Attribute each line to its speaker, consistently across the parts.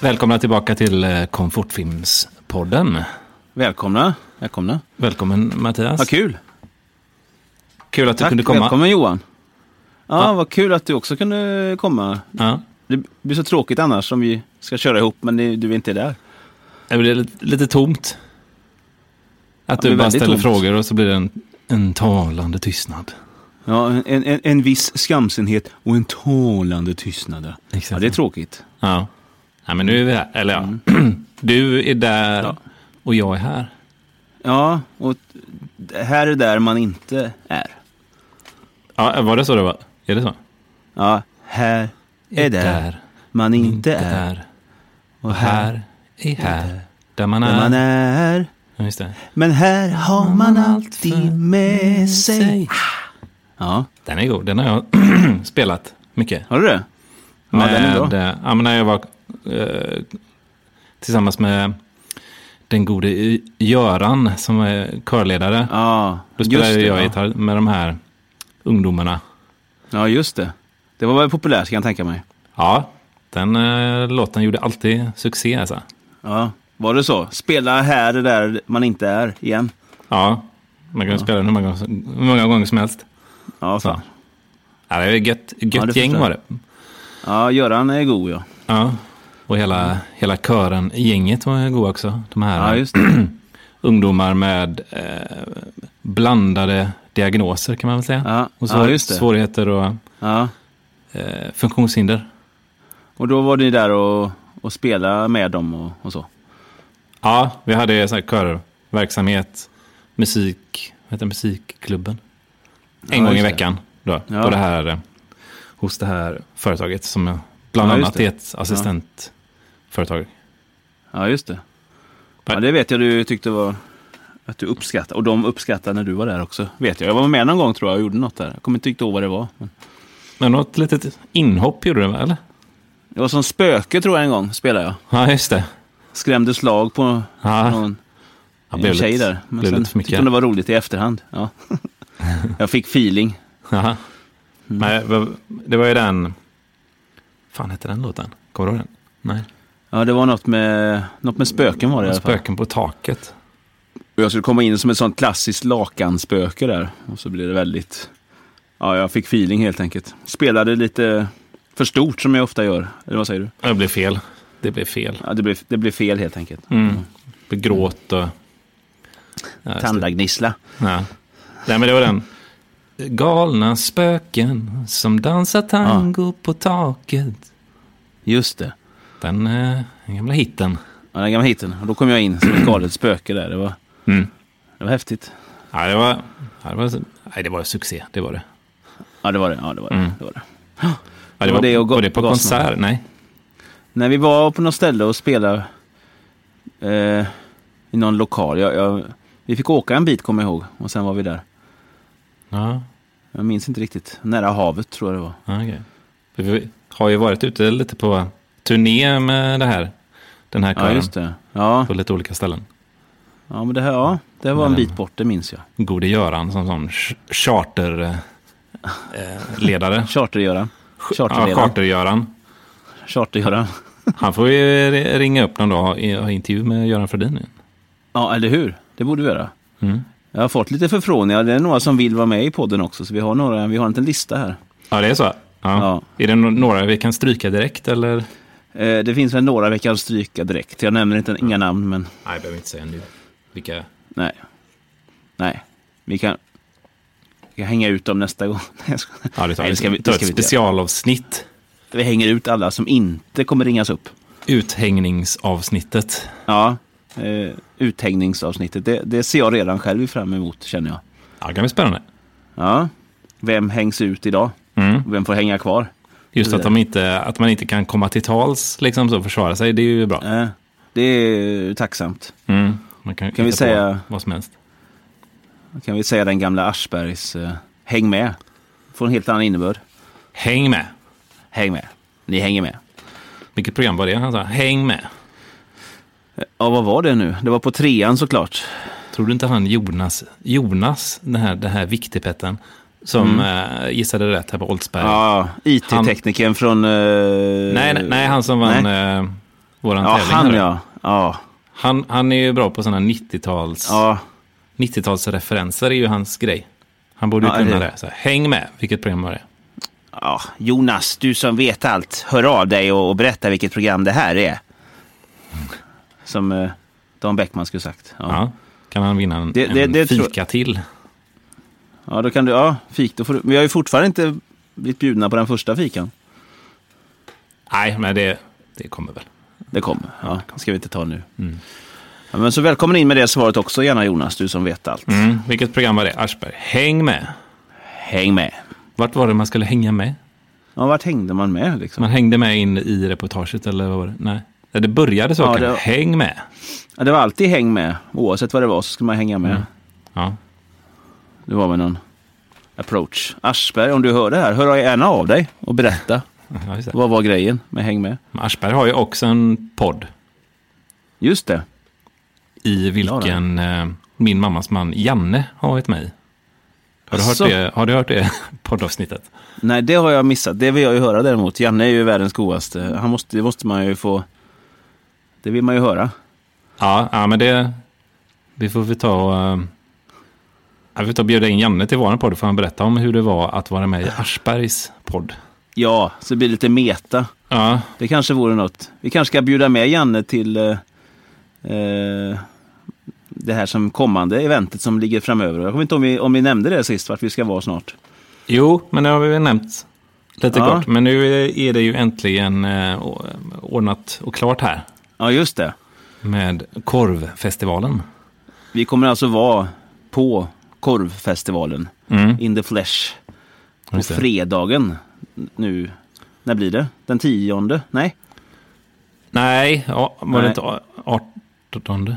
Speaker 1: Välkomna tillbaka till eh, Komfortfilmspodden.
Speaker 2: Välkomna. Välkomna.
Speaker 1: Välkommen Mattias.
Speaker 2: Vad kul.
Speaker 1: Kul att du
Speaker 2: Tack.
Speaker 1: kunde komma.
Speaker 2: Välkommen Johan. Ja, vad kul att du också kunde komma.
Speaker 1: Ja.
Speaker 2: Det blir så tråkigt annars om vi ska köra ihop men det- du är inte där.
Speaker 1: Det blir lite, lite tomt. Att
Speaker 2: det
Speaker 1: du
Speaker 2: är
Speaker 1: bara
Speaker 2: väldigt
Speaker 1: ställer
Speaker 2: tomt.
Speaker 1: frågor och så blir det en, en talande tystnad.
Speaker 2: Ja, en, en, en viss skamsenhet och en talande tystnad.
Speaker 1: Exakt.
Speaker 2: Ja, det är tråkigt.
Speaker 1: Ja. ja, men nu är vi här. Eller ja, du är där
Speaker 2: Mm. Ja.
Speaker 1: och jag är här.
Speaker 2: Ja, och det här är där man inte är.
Speaker 1: Ja, var det så det var? Är det så?
Speaker 2: Ja, här är där man inte är. Och
Speaker 1: Här är här. Där man är.
Speaker 2: där man är.
Speaker 1: Ja, just det.
Speaker 2: Men här har man alltid med sig. Ja,
Speaker 1: Den är god. Den har jag spelat mycket.
Speaker 2: har du det? Ja, den är bra.
Speaker 1: eh, ja, men när jag var eh, tillsammans med den gode I- Göran som är körledare.
Speaker 2: Ja,
Speaker 1: Då spelade
Speaker 2: just det,
Speaker 1: jag
Speaker 2: ja.
Speaker 1: gitarr med de här ungdomarna.
Speaker 2: Ja, just det. Det var väl populärt kan jag tänka mig.
Speaker 1: Ja, den eh, låten gjorde alltid succé. Alltså.
Speaker 2: Ja, var det så? Spela här det där man inte är igen.
Speaker 1: Ja, man kan spela den hur många, hur många gånger som helst.
Speaker 2: Ja,
Speaker 1: Så.
Speaker 2: fan.
Speaker 1: Ja, det är ett gött, gött
Speaker 2: det
Speaker 1: gäng
Speaker 2: förstår
Speaker 1: var det.
Speaker 2: Ja, Göran är god ja.
Speaker 1: Ja. Och hela, hela kören, gänget var god också. De här
Speaker 2: Ja, just det.
Speaker 1: ungdomar med eh, blandade diagnoser kan man väl säga.
Speaker 2: Ja,
Speaker 1: Och
Speaker 2: ja,
Speaker 1: svår,
Speaker 2: just det.
Speaker 1: svårigheter och
Speaker 2: Ja.
Speaker 1: eh, funktionshinder.
Speaker 2: Och då var ni där och, och spela med dem och, och så.
Speaker 1: Ja, vi hade så här körverksamhet, musik, vad heter det, musikklubben. En
Speaker 2: Ja,
Speaker 1: gång i
Speaker 2: just det.
Speaker 1: veckan då,
Speaker 2: Ja.
Speaker 1: på det här, eh, hos det här företaget som jag- bland
Speaker 2: Ja, just
Speaker 1: annat
Speaker 2: det.
Speaker 1: är ett assistentföretag.
Speaker 2: Ja, just det. Ja, det vet jag du tyckte var att du uppskattade. Och de uppskattade när du var där också. Vet jag. Jag var med någon gång tror jag och gjorde något där. Jag kommer inte riktigt ihåg vad det var. Men
Speaker 1: Men något litet inhopp gjorde det väl, eller?
Speaker 2: det var som spöke tror jag en gång spelade jag.
Speaker 1: Ja, just det.
Speaker 2: Skrämde slag på
Speaker 1: Ja,
Speaker 2: någon
Speaker 1: jag
Speaker 2: en tjej där. Men
Speaker 1: blev
Speaker 2: sen
Speaker 1: lite för mycket.
Speaker 2: tyckte hon det var roligt i efterhand. Ja. jag fick feeling.
Speaker 1: Jaha. Nej, vad- det var ju den... fan hette den låten? Kommer du ihåg den? Nej.
Speaker 2: Ja, det var något med, något med spöken var det i alla fall.
Speaker 1: Spöken på taket.
Speaker 2: Och jag skulle komma in som ett sånt klassiskt lakanspöke där. Och så blev det väldigt... Ja, jag fick feeling helt enkelt. Spelade lite för stort som jag ofta gör. Eller vad säger du?
Speaker 1: Ja, Det blev fel. Det blev fel.
Speaker 2: Ja, det blev, det blev fel helt enkelt.
Speaker 1: Mm. Det blev gråt och... Ja, just det.
Speaker 2: Tandagnissla.
Speaker 1: ja. Nej, men det var den. Galna spöken som dansar tango på taket.
Speaker 2: Just det.
Speaker 1: Den, eh, den gamla hitten.
Speaker 2: Ja, den gamla hiten. Och då kom jag in som ett galet spöke där. Det var,
Speaker 1: Mm.
Speaker 2: det var häftigt.
Speaker 1: Ja, det var... Ja, det var nej, det var succé. Det var det.
Speaker 2: Ja, det var det. Ja, det var det.
Speaker 1: Mm.
Speaker 2: det, var det.
Speaker 1: Ja,
Speaker 2: Det var det och
Speaker 1: var det på
Speaker 2: Gasman.
Speaker 1: konsert? Nej.
Speaker 2: När vi var på något ställe och spelade eh, i någon lokal. Jag, jag, vi fick åka en bit kommer jag ihåg. Och sen var vi där.
Speaker 1: Ja.
Speaker 2: Jag minns inte riktigt. Nära havet tror jag det var.
Speaker 1: Ja, okej. För Vi har ju varit ute lite på turné med det här, den här
Speaker 2: Ja,
Speaker 1: kören
Speaker 2: just det. Ja,
Speaker 1: på lite olika ställen.
Speaker 2: ja men det här, ja, det var en
Speaker 1: Men-
Speaker 2: bit bort, det minns jag.
Speaker 1: Gode Göran som sån ch- charter eh, ledare.
Speaker 2: Charter-Göran.
Speaker 1: Ja,
Speaker 2: Charterledaren.
Speaker 1: Charter-Göran.
Speaker 2: Charter-Göran.
Speaker 1: Han får ju ri- ringa upp någon dag och i- ha intervju med Göran Fredin.
Speaker 2: Ja, eller hur? Det borde vi göra.
Speaker 1: Mm.
Speaker 2: Jag har fått lite förfrågningar. Det är några som vill vara med i podden också, så vi har, några, vi har en liten lista här.
Speaker 1: Ja, det är så. Ja.
Speaker 2: Ja.
Speaker 1: Är det no- några vi kan stryka direkt eller?
Speaker 2: Eh, det finns väl några vi kan stryka direkt. Jag nämner inte, inga namn, men
Speaker 1: Nej, jag behöver inte säga nu. Vilka?
Speaker 2: nej. Nej, vi kan, vi kan hänga ut dem nästa gång. Nej, jag skojar.
Speaker 1: Ja, det tar,
Speaker 2: Nej, det ska vi-
Speaker 1: vi, tar
Speaker 2: det ska
Speaker 1: ett
Speaker 2: vi inte göra.
Speaker 1: specialavsnitt.
Speaker 2: vi hänger ut alla som inte kommer ringas upp.
Speaker 1: Uthängningsavsnittet.
Speaker 2: Ja, eh, uthängningsavsnittet. Det, det ser jag redan själv fram emot, känner jag.
Speaker 1: Ja, det kan bli spännande.
Speaker 2: Ja. Vem hängs ut idag?
Speaker 1: Mm.
Speaker 2: Vem får hänga kvar?
Speaker 1: Just
Speaker 2: Det
Speaker 1: att, de inte, att man inte kan komma till tals liksom, så och försvara sig, det är ju bra.
Speaker 2: Eh, det är tacksamt.
Speaker 1: Mm. Man kan,
Speaker 2: Kan vi
Speaker 1: hitta på
Speaker 2: säga-
Speaker 1: vad som helst.
Speaker 2: Då kan vi säga den gamla Aschbergs eh, Häng med. Får en helt annan innebörd.
Speaker 1: Häng med!
Speaker 2: Häng med. Ni hänger med.
Speaker 1: Vilket program var det han sa? Häng med!
Speaker 2: Ja, vad var det nu? Det var på trean såklart.
Speaker 1: Tror du inte han Jonas, Jonas den här, den här viktigpetten, som
Speaker 2: Mm.
Speaker 1: eh, gissade rätt här på Oldsberg?
Speaker 2: Ja, IT-teknikern från... eh,
Speaker 1: Nej, nej, nej, han som vann eh, våran
Speaker 2: Ja,
Speaker 1: tävling.
Speaker 2: han
Speaker 1: här.
Speaker 2: ja. Ja,
Speaker 1: Han, han är ju bra på sådana 90-tals,
Speaker 2: ja.
Speaker 1: 90-talsreferenser är ju hans grej. Han borde ju
Speaker 2: Ja,
Speaker 1: kunna
Speaker 2: det-
Speaker 1: det. Så här, häng med vilket program var det?
Speaker 2: ja. Jonas, du som vet allt, hör av dig och, och berätta vilket program det här är. Som eh, Dan Bäckman skulle sagt.
Speaker 1: Ja.
Speaker 2: Ja.
Speaker 1: Kan han vinna en,
Speaker 2: Det- det-
Speaker 1: en
Speaker 2: det tror-
Speaker 1: fika till?
Speaker 2: Ja, då kan du, ja, fik, då får du, vi har ju fortfarande inte blivit bjudna på den första fikan.
Speaker 1: Nej, men det, det kommer väl.
Speaker 2: Det kommer. Ja, ska vi inte ta nu.
Speaker 1: Mm.
Speaker 2: Ja, men så välkommen in med det svaret också gärna Jonas, du som vet allt.
Speaker 1: Mm. Vilket program var det? Aschberg. Häng med.
Speaker 2: Häng med.
Speaker 1: Vart var det man skulle hänga med?
Speaker 2: Ja, vart hängde man med liksom?
Speaker 1: Man hängde med in i reportaget eller vad var det? Nej. Ja, Det började så
Speaker 2: Ja,
Speaker 1: kanske.
Speaker 2: det-
Speaker 1: Häng med.
Speaker 2: Ja, det var alltid häng med. Oavsett vad det var så skulle man hänga med.
Speaker 1: Mm. Ja.
Speaker 2: Det var väl någon approach. Aschberg, om du hör det här, hör gärna av dig och berätta.
Speaker 1: Ja, just det.
Speaker 2: Vad var grejen med häng med?
Speaker 1: Men Aschberg har ju också en podd
Speaker 2: Just det.
Speaker 1: i vilken eh, min mammas man Janne har varit med i. Har du, hört
Speaker 2: Asså?
Speaker 1: det, har du hört det poddavsnittet?
Speaker 2: Nej, det har jag missat. Det vill jag ju höra däremot. Janne är ju världens godaste. Han måste, det måste man ju få... Det vill man ju höra.
Speaker 1: Ja, ja men det... Vi får väl ta... eh, ja, vi får ta och bjuda in Janne till vår podd för han berätta om hur det var att vara med i Aschbergs podd.
Speaker 2: Ja, så det blir lite meta.
Speaker 1: Ja,
Speaker 2: Det kanske vore något. Vi kanske ska bjuda med Janne till eh, eh, det här som kommande eventet som ligger framöver. Jag kommer inte ihåg om vi, om vi nämnde det sist, vart vi ska vara snart.
Speaker 1: Jo, men det har vi väl nämnt lite
Speaker 2: Ja.
Speaker 1: kort. Men nu är det ju äntligen eh, å- ordnat och klart här
Speaker 2: Ja, just det.
Speaker 1: med korvfestivalen.
Speaker 2: Vi kommer alltså vara på korvfestivalen
Speaker 1: Mm.
Speaker 2: in the flesh på
Speaker 1: Just det.
Speaker 2: fredagen nu. När blir det? Den tionde? Nej,
Speaker 1: Nej, ja, var det
Speaker 2: Nej.
Speaker 1: inte a- 18?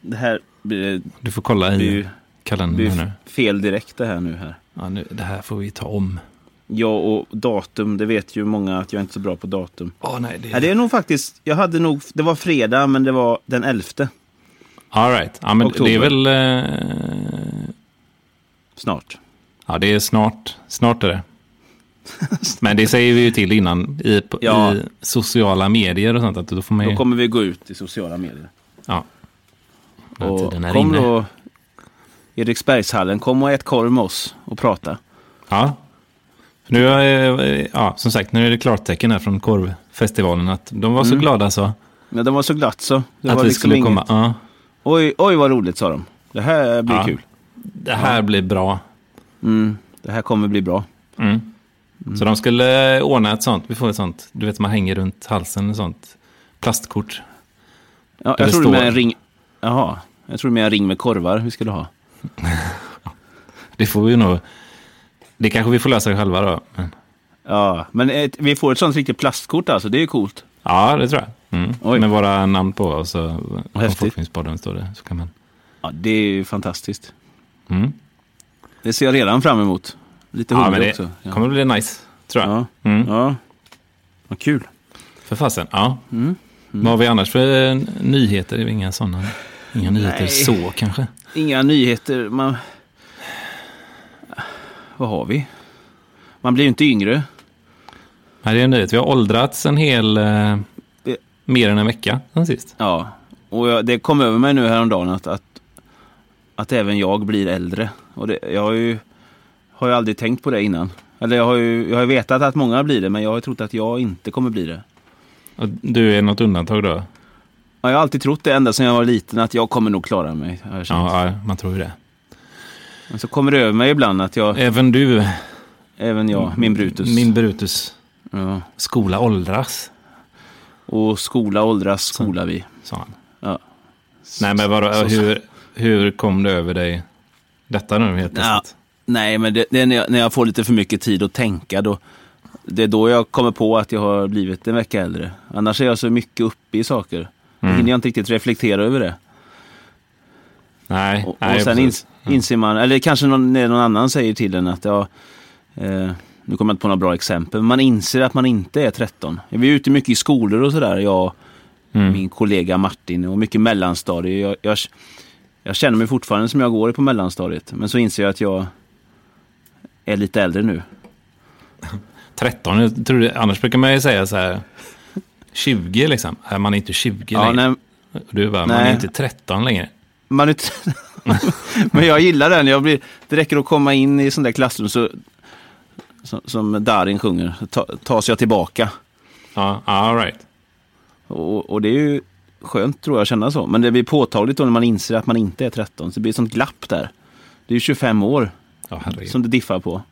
Speaker 2: det här blir,
Speaker 1: Du får kolla
Speaker 2: blir,
Speaker 1: i
Speaker 2: ju- blir
Speaker 1: kalendern Mm, här
Speaker 2: ju
Speaker 1: nu.
Speaker 2: fel direkt det här nu. Här.
Speaker 1: Ja, nu. Det här får vi ta om.
Speaker 2: Ja, och datum, det vet ju många att jag är inte är så bra på datum.
Speaker 1: Åh nej, det...
Speaker 2: Ja, det är nog faktiskt, jag hade nog, det var fredag men det var den 11
Speaker 1: All right. Ja, men
Speaker 2: Oktober.
Speaker 1: det är väl... Eh...
Speaker 2: snart.
Speaker 1: Ja, det är snart. Snart är det. Men det säger vi ju till innan i, på-
Speaker 2: Ja.
Speaker 1: i sociala medier och sånt. Att då får man ju...
Speaker 2: Då kommer vi gå ut i sociala medier.
Speaker 1: Ja. När
Speaker 2: Och
Speaker 1: tiden är
Speaker 2: kom
Speaker 1: inne.
Speaker 2: då Eriksbergshallen, kom och ät korv med oss och prata.
Speaker 1: Ja. Nu, eh, ja, som sagt, nu är det klartecken här från korvfestivalen att de var så glada så
Speaker 2: Ja, de var så glatt så. Mm. Det
Speaker 1: att
Speaker 2: var
Speaker 1: vi
Speaker 2: liksom
Speaker 1: skulle
Speaker 2: inget-
Speaker 1: komma. Ja,
Speaker 2: Oj, oj vad roligt sa de. Det här blir
Speaker 1: Ja.
Speaker 2: kul.
Speaker 1: det här blir bra.
Speaker 2: Mm, det här kommer bli bra.
Speaker 1: Mm. Så de skulle eh, ordna ett sånt, vi får ett sånt, du vet man hänger runt halsen, ett sånt plastkort.
Speaker 2: Ja,
Speaker 1: Eller
Speaker 2: jag trodde med
Speaker 1: står-
Speaker 2: en ring... Jaha, jag trodde med en ring med korvar vi skulle ha.
Speaker 1: Det får vi nog, det kanske vi får lösa själva då. Men,
Speaker 2: Ja, men ett, vi får ett sånt riktigt plastkort alltså, det är ju coolt.
Speaker 1: ja, det tror jag.
Speaker 2: Oj.
Speaker 1: Mm. Med våra namn på och så, om
Speaker 2: Häftigt.
Speaker 1: Folkbildningspodden står det, så kan man.
Speaker 2: Ja, det är ju fantastiskt.
Speaker 1: Mm.
Speaker 2: Det ser jag redan fram emot. Lite
Speaker 1: Ja,
Speaker 2: hungrig
Speaker 1: men
Speaker 2: också.
Speaker 1: det
Speaker 2: Ja.
Speaker 1: kommer bli nice, tror jag.
Speaker 2: Ja.
Speaker 1: Mm.
Speaker 2: ja. Vad kul.
Speaker 1: För fasen, ja. Vad har vi annars för eh, nyheter? Det är väl inga sådana. Inga nyheter
Speaker 2: Nej.
Speaker 1: så kanske.
Speaker 2: Inga nyheter. Man... Vad har vi? Man blir ju inte yngre.
Speaker 1: Nej, det är en nyhet. Vi har åldrats en hel... Eh,
Speaker 2: Det-
Speaker 1: mer än en vecka sen sist.
Speaker 2: Ja. Och jag, det kom över mig nu häromdagen att, att, att även jag blir äldre. Och det, jag har ju, har ju aldrig tänkt på det innan. Eller jag har ju jag har ju vetat att många blir det, men jag har ju trott att jag inte kommer bli det.
Speaker 1: Och du är något undantag då?
Speaker 2: Ja, jag har alltid trott det ända sedan jag var liten att jag kommer nog klara mig. har jag känt.
Speaker 1: Ja, ja, man tror ju det.
Speaker 2: Men så kommer det över mig ibland att jag,
Speaker 1: Även du,
Speaker 2: även jag, min Brutus.
Speaker 1: min Brutus,
Speaker 2: Ja.
Speaker 1: skola åldras,
Speaker 2: Och skola åldras, skola vi.
Speaker 1: sa han.
Speaker 2: Ja.
Speaker 1: Nej, men vadå,
Speaker 2: Så- så-
Speaker 1: hur, hur kom det över dig detta nu helt
Speaker 2: Ja.
Speaker 1: plötsligt?
Speaker 2: Nej, men det, det är när jag, när jag får lite för mycket tid att tänka. Då, det är då jag kommer på att jag har blivit en vecka äldre. Annars är jag så mycket uppe i saker. Då hinner jag inte riktigt reflektera över det.
Speaker 1: Nej,
Speaker 2: Och, och
Speaker 1: nej, precis.
Speaker 2: sen
Speaker 1: Mm.
Speaker 2: ins, inser man, eller kanske någon, när någon annan säger till en att jag... Eh, nu kommer jag inte på några bra exempel, men man inser att man inte är 13. Vi är ute mycket i skolor och sådär, jag och
Speaker 1: Mm.
Speaker 2: min kollega Martin, och mycket mellanstadie. Jag, jag, jag känner mig fortfarande som jag går på mellanstadiet, men så inser jag att jag är lite äldre nu.
Speaker 1: 13, jag tror det, annars brukar man ju säga så här. 20 liksom. Är man inte 20
Speaker 2: Ja,
Speaker 1: längre?
Speaker 2: nej,
Speaker 1: Du bara, man är
Speaker 2: Nej.
Speaker 1: inte 13 längre.
Speaker 2: man är inte... Men jag gillar den. Jag blir... Det räcker att komma in i sån där klassrum så... Som, som Darin sjunger, ta, tas jag tillbaka.
Speaker 1: Ja, all right.
Speaker 2: Och, och det är ju skönt tror jag att känna så. Men det blir påtagligt då när man inser att man inte är 13. Så det blir ett sånt glapp där. Det är ju 25 år
Speaker 1: Ja, herregud.
Speaker 2: som det diffar på.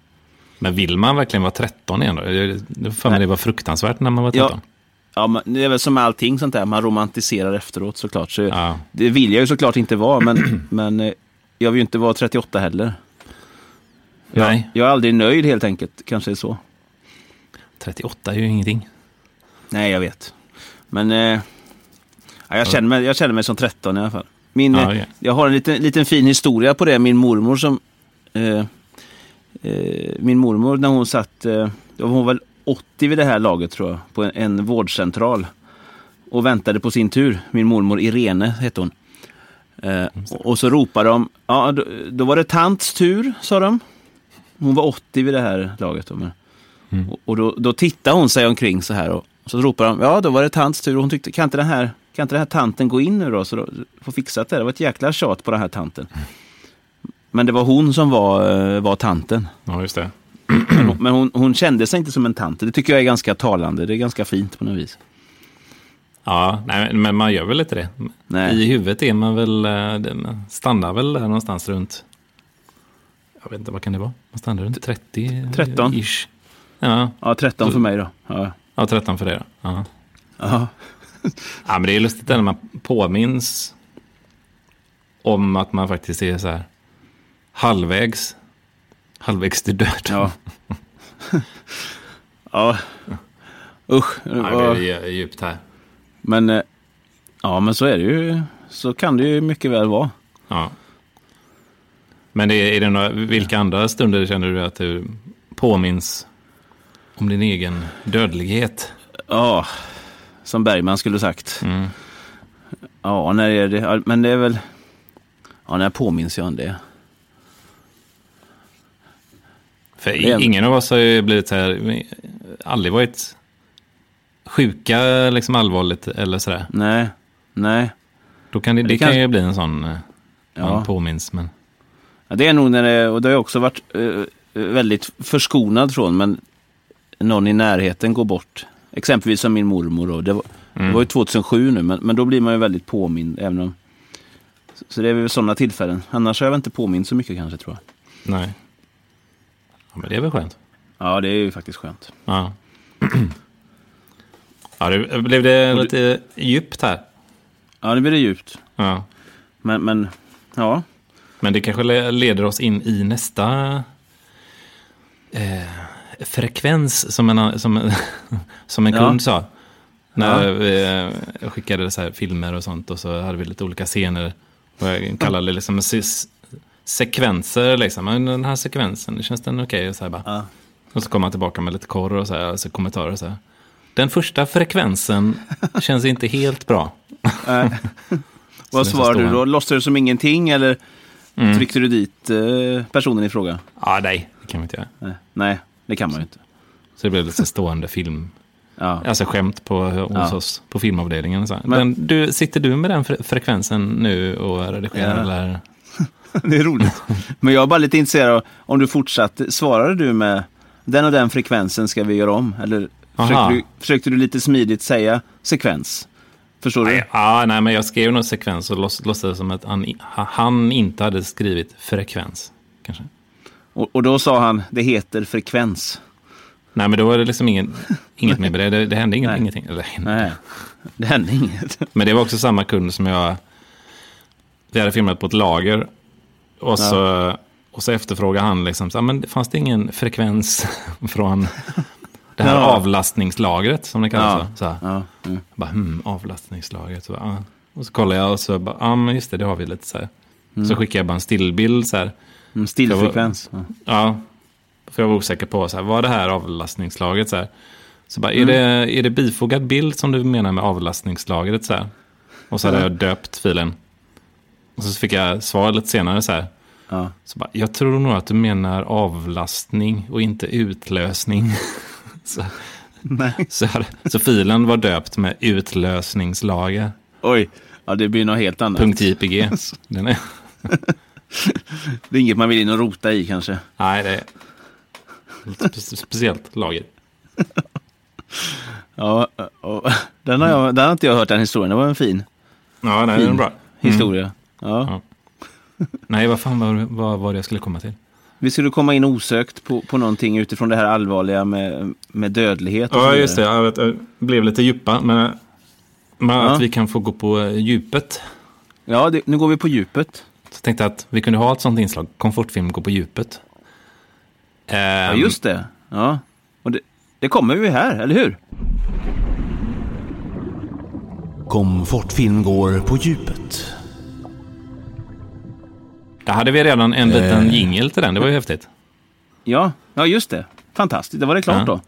Speaker 1: Men vill man verkligen vara 13 igen då? Det- det- För mig
Speaker 2: Nej.
Speaker 1: det var fruktansvärt när man var
Speaker 2: Ja.
Speaker 1: 13.
Speaker 2: Ja, men det är väl som med allting sånt där, man romantiserar efteråt såklart. Så
Speaker 1: Ja.
Speaker 2: Det vill jag ju såklart inte vara, men, men eh, jag vill ju inte vara 38 heller.
Speaker 1: Nej,
Speaker 2: Jag är aldrig nöjd helt enkelt, kanske är så.
Speaker 1: 38 är ju ingenting.
Speaker 2: Nej, jag vet. Men eh, ja, jag, känner mig, jag känner mig som 13 i alla fall. Min,
Speaker 1: Ja,
Speaker 2: eh,
Speaker 1: ja.
Speaker 2: Jag har en liten, liten fin historia på det. Min mormor som... Eh, eh, min mormor när hon satt... Eh, då var hon väl 80 vid det här laget tror jag. På en, en vårdcentral. Och väntade på sin tur. Min mormor Irene hette hon. Eh, och, och så ropade de... Ja, då, då var det tants tur, sa de. Hon var 80 vid det här laget. Då, men. Och, och då, då tittade hon sig omkring så här och så ropade de, ja då var det tants tur och hon tyckte, kan inte den här, kan inte den här tanten gå in nu då? Så då få fixat det. Det var ett jäkla tjat på den här tanten. Men det var hon som var, eh, var tanten.
Speaker 1: Ja, just det.
Speaker 2: Men
Speaker 1: Mm.
Speaker 2: hon- Men hon, hon kände sig inte som en tant. Det tycker jag är ganska talande. Det är ganska fint på något vis.
Speaker 1: Ja, nej, men man gör väl inte det.
Speaker 2: Nej.
Speaker 1: I huvudet är man väl, eh, den stannar väl där någonstans runt, jag vet inte, vad kan det vara? Man stannar runt 30?
Speaker 2: 13.
Speaker 1: Ish. Ja,
Speaker 2: Ja, 13 för mig då. Ja.
Speaker 1: ja, 13 för det då. Ja.
Speaker 2: Ja.
Speaker 1: ja, men det är lustigt när man påminns om att man faktiskt är så här halvvägs, halvvägs till döden.
Speaker 2: Ja. ja. Usch. det
Speaker 1: Ja,
Speaker 2: var-
Speaker 1: det är djupt här.
Speaker 2: Men, eh, ja, men så är det ju. Så kan det ju mycket väl vara.
Speaker 1: Ja. Men det, är det några, vilka andra stunder känner du att du påminns om din egen dödlighet?
Speaker 2: Ja, som Bergman skulle sagt.
Speaker 1: Mm.
Speaker 2: Ja, när är det? ja, Men det är väl... Ja, när påminns jag om det?
Speaker 1: För
Speaker 2: Det är-
Speaker 1: ingen av oss har ju blivit så här, vi- aldrig varit sjuka liksom allvarligt eller sådär.
Speaker 2: Nej, nej.
Speaker 1: Då kan det, det,
Speaker 2: Det
Speaker 1: kan
Speaker 2: kanske-
Speaker 1: ju bli en sån, eh,
Speaker 2: Ja.
Speaker 1: man påminns. Men,
Speaker 2: Ja, det är nog när det... Och det har jag också varit eh, väldigt förskonad från, men någon i närheten går bort. Exempelvis som min mormor. Då. Det, var, det var ju 2007 nu, men, men då blir man ju väldigt påmind. Även om, så- så det är väl sådana tillfällen. Annars har jag väl inte påmint så mycket kanske, tror jag.
Speaker 1: nej. Ja, men det är väl skönt.
Speaker 2: Ja, det är ju faktiskt skönt.
Speaker 1: Ja. ja, det blev det lite djupt här.
Speaker 2: Ja, nu blir det djupt.
Speaker 1: Ja.
Speaker 2: Men, men ja.
Speaker 1: Men det kanske le- leder oss in i nästa eh, frekvens som en, som, som en
Speaker 2: Ja.
Speaker 1: kund sa. När eh, jag skickade så här filmer och sånt och så hade vi lite olika scener. Och jag kallade det liksom se- sekvenser. Liksom. Men Den här sekvensen, känns den okej? Och så här bara.
Speaker 2: Ja.
Speaker 1: Och så kom han tillbaka med lite korr och så här, alltså kommentarer. Och så här. Den första frekvensen känns inte helt bra.
Speaker 2: Nej. Vad
Speaker 1: nästa
Speaker 2: svarade du
Speaker 1: står
Speaker 2: då? Låtsades du som ingenting eller tryckte du dit eh, personen i fråga?
Speaker 1: Ja, nej, det kan vi inte göra.
Speaker 2: Nej. Nej, det kan man ju inte.
Speaker 1: Så det blev lite så här stående film.
Speaker 2: Ja.
Speaker 1: Alltså skämt på, hos
Speaker 2: Ja.
Speaker 1: oss på filmavdelningen. och Så. här.
Speaker 2: Men-
Speaker 1: den, du, sitter du med den fre- frekvensen nu och redigerar?
Speaker 2: Ja.
Speaker 1: Eller?
Speaker 2: Det är roligt. Men jag är bara lite intresserad av om du fortsatte. Svarade du med den och den frekvensen ska vi göra om? Eller
Speaker 1: Aha.
Speaker 2: försökte du, försökte du lite smidigt säga sekvens? Förstår du?
Speaker 1: Nej, ah, nej, men jag skrev någon sekvens och låts- låtsades som att han, han inte hade skrivit frekvens. Kanske.
Speaker 2: Och, och då sa han, det heter frekvens.
Speaker 1: Nej, men då var det liksom ingen, inget mer med det. Det, det hände inget,
Speaker 2: Nej.
Speaker 1: ingenting. Eller,
Speaker 2: Nej, det hände inget.
Speaker 1: Men det var också samma kund som jag... Vi hade filmat på ett lager. Och så, och så efterfrågade han liksom, så, här, men fanns det ingen frekvens från det här
Speaker 2: Ja.
Speaker 1: avlastningslagret som det kallas?
Speaker 2: Ja.
Speaker 1: va? Så här.
Speaker 2: Ja, mm.
Speaker 1: Jag bara, hmm, avlastningslagret. Så, bara, ah. Och så kollar jag och så bara, ja ah, men just det, det har vi lite så här. Så skickar jag bara en stillbild så här.
Speaker 2: Mm, Stillfrekvens. Ja.
Speaker 1: Ja, för jag var osäker på, så här, var det här avlastningslagret så här? Så bara, är, det, är det bifogad bild som du menar med avlastningslagret så här? Och så hade jag döpt filen. Och så fick jag svar lite senare så här.
Speaker 2: Ja.
Speaker 1: Så bara, jag tror nog att du menar avlastning och inte utlösning. så,
Speaker 2: Nej.
Speaker 1: Så, hade, så filen var döpt med utlösningslager.
Speaker 2: Oj, ja, det blir något helt annat.
Speaker 1: .jpg. Den är,
Speaker 2: Det är inget man vill in och rota i kanske.
Speaker 1: nej, det är lite spe- speciellt lager.
Speaker 2: Ja, eh, och, den, har
Speaker 1: Mm.
Speaker 2: jag, den har inte jag hört den historien. Det var en fin
Speaker 1: Ja, nej, den är
Speaker 2: Fin.
Speaker 1: bra.
Speaker 2: historia. Ja.
Speaker 1: Mm. Ja. Nej, vad fan var, var, var det jag skulle komma till?
Speaker 2: Vi skulle komma in osökt på, på någonting utifrån det här allvarliga med, med dödlighet. och så
Speaker 1: Ja,
Speaker 2: vidare.
Speaker 1: just det. Jag, vet, jag blev lite djupa, men, men
Speaker 2: Ja.
Speaker 1: att vi kan få gå på eh, djupet.
Speaker 2: Ja, det, nu går vi på djupet.
Speaker 1: Så tänkte jag att vi kunde ha ett sånt inslag. Komfortfilm går på djupet. Ehm,
Speaker 2: Ja,
Speaker 1: Mm.
Speaker 2: just det. Ja. Och det, det kommer vi här, eller hur?
Speaker 3: Komfortfilm går på djupet.
Speaker 1: Där hade vi redan en liten
Speaker 3: Eh.
Speaker 1: jingel till den. Det var ju häftigt.
Speaker 2: Ja, ja just det. Fantastiskt, det var det klart
Speaker 1: Ja.
Speaker 2: då.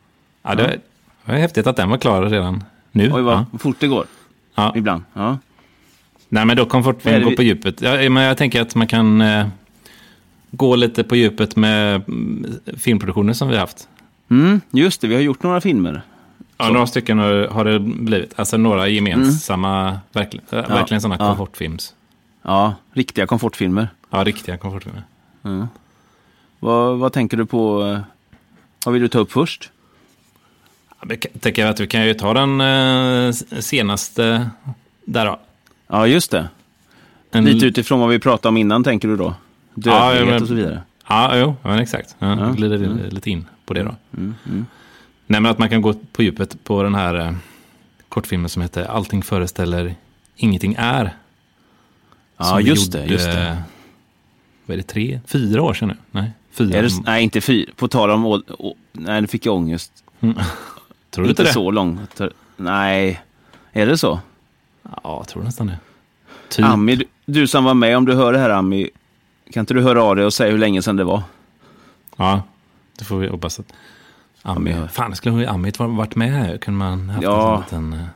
Speaker 1: Ja, det var häftigt att den var klar redan nu.
Speaker 2: Oj, vad
Speaker 1: ja.
Speaker 2: fort det går.
Speaker 1: Ja.
Speaker 2: Ibland. Ja.
Speaker 1: Nej, men då
Speaker 2: Vad är
Speaker 1: komfortfilm
Speaker 2: det
Speaker 1: går
Speaker 2: vi-
Speaker 1: på djupet. Ja, men jag tänker att man kan eh, gå lite på djupet med mm, filmproduktioner som vi har haft.
Speaker 2: Mm, just det, vi har gjort några filmer.
Speaker 1: Ja, några stycken har, har det blivit. Alltså några gemensamma, verkligen, äh, verkligen sådana
Speaker 2: ja.
Speaker 1: komfortfilms.
Speaker 2: Ja, riktiga komfortfilmer.
Speaker 1: Ja, riktiga komfortfilmer.
Speaker 2: Vad, vad tänker du på? eh, Vad vill du ta upp först?
Speaker 1: Ja, men Jag tänker att vi kan ju ta den eh, s- senaste där då.
Speaker 2: Ja, just det.
Speaker 1: En,
Speaker 2: Lite utifrån vad vi pratade om innan, tänker du då? Dödlighet
Speaker 1: Mm. Ja, men-
Speaker 2: och så vidare.
Speaker 1: Ja, jo, ja, men exakt. Ja,
Speaker 2: Ja, Mm.
Speaker 1: ja. glider in- lite in på det då. Nej, men att man kan gå på djupet på den här eh, kortfilmen som heter Allting föreställer, ingenting är.
Speaker 2: Ja,
Speaker 1: Som vi
Speaker 2: just det.
Speaker 1: gjorde,
Speaker 2: Just det.
Speaker 1: eh, Vad är det, tre, fyra år sedan nu? Nej, fyra.
Speaker 2: Är det, s- nej, inte fyra. På tal om... Å, å, nej, nu fick jag ångest.
Speaker 1: tror du
Speaker 2: inte
Speaker 1: inte det?
Speaker 2: så lång. Nej, är det så?
Speaker 1: Ja, jag tror nästan det. Typ.
Speaker 2: Ami, du, du som var med, om du hör det här Ami, kan inte du höra av dig och säga hur länge sedan det var?
Speaker 1: Ja, det får vi hoppas att Ami...
Speaker 2: Ja, men-
Speaker 1: Fan, skulle ju Amit va- varit med här? Kunde man haft
Speaker 2: Ja.
Speaker 1: en sån liten,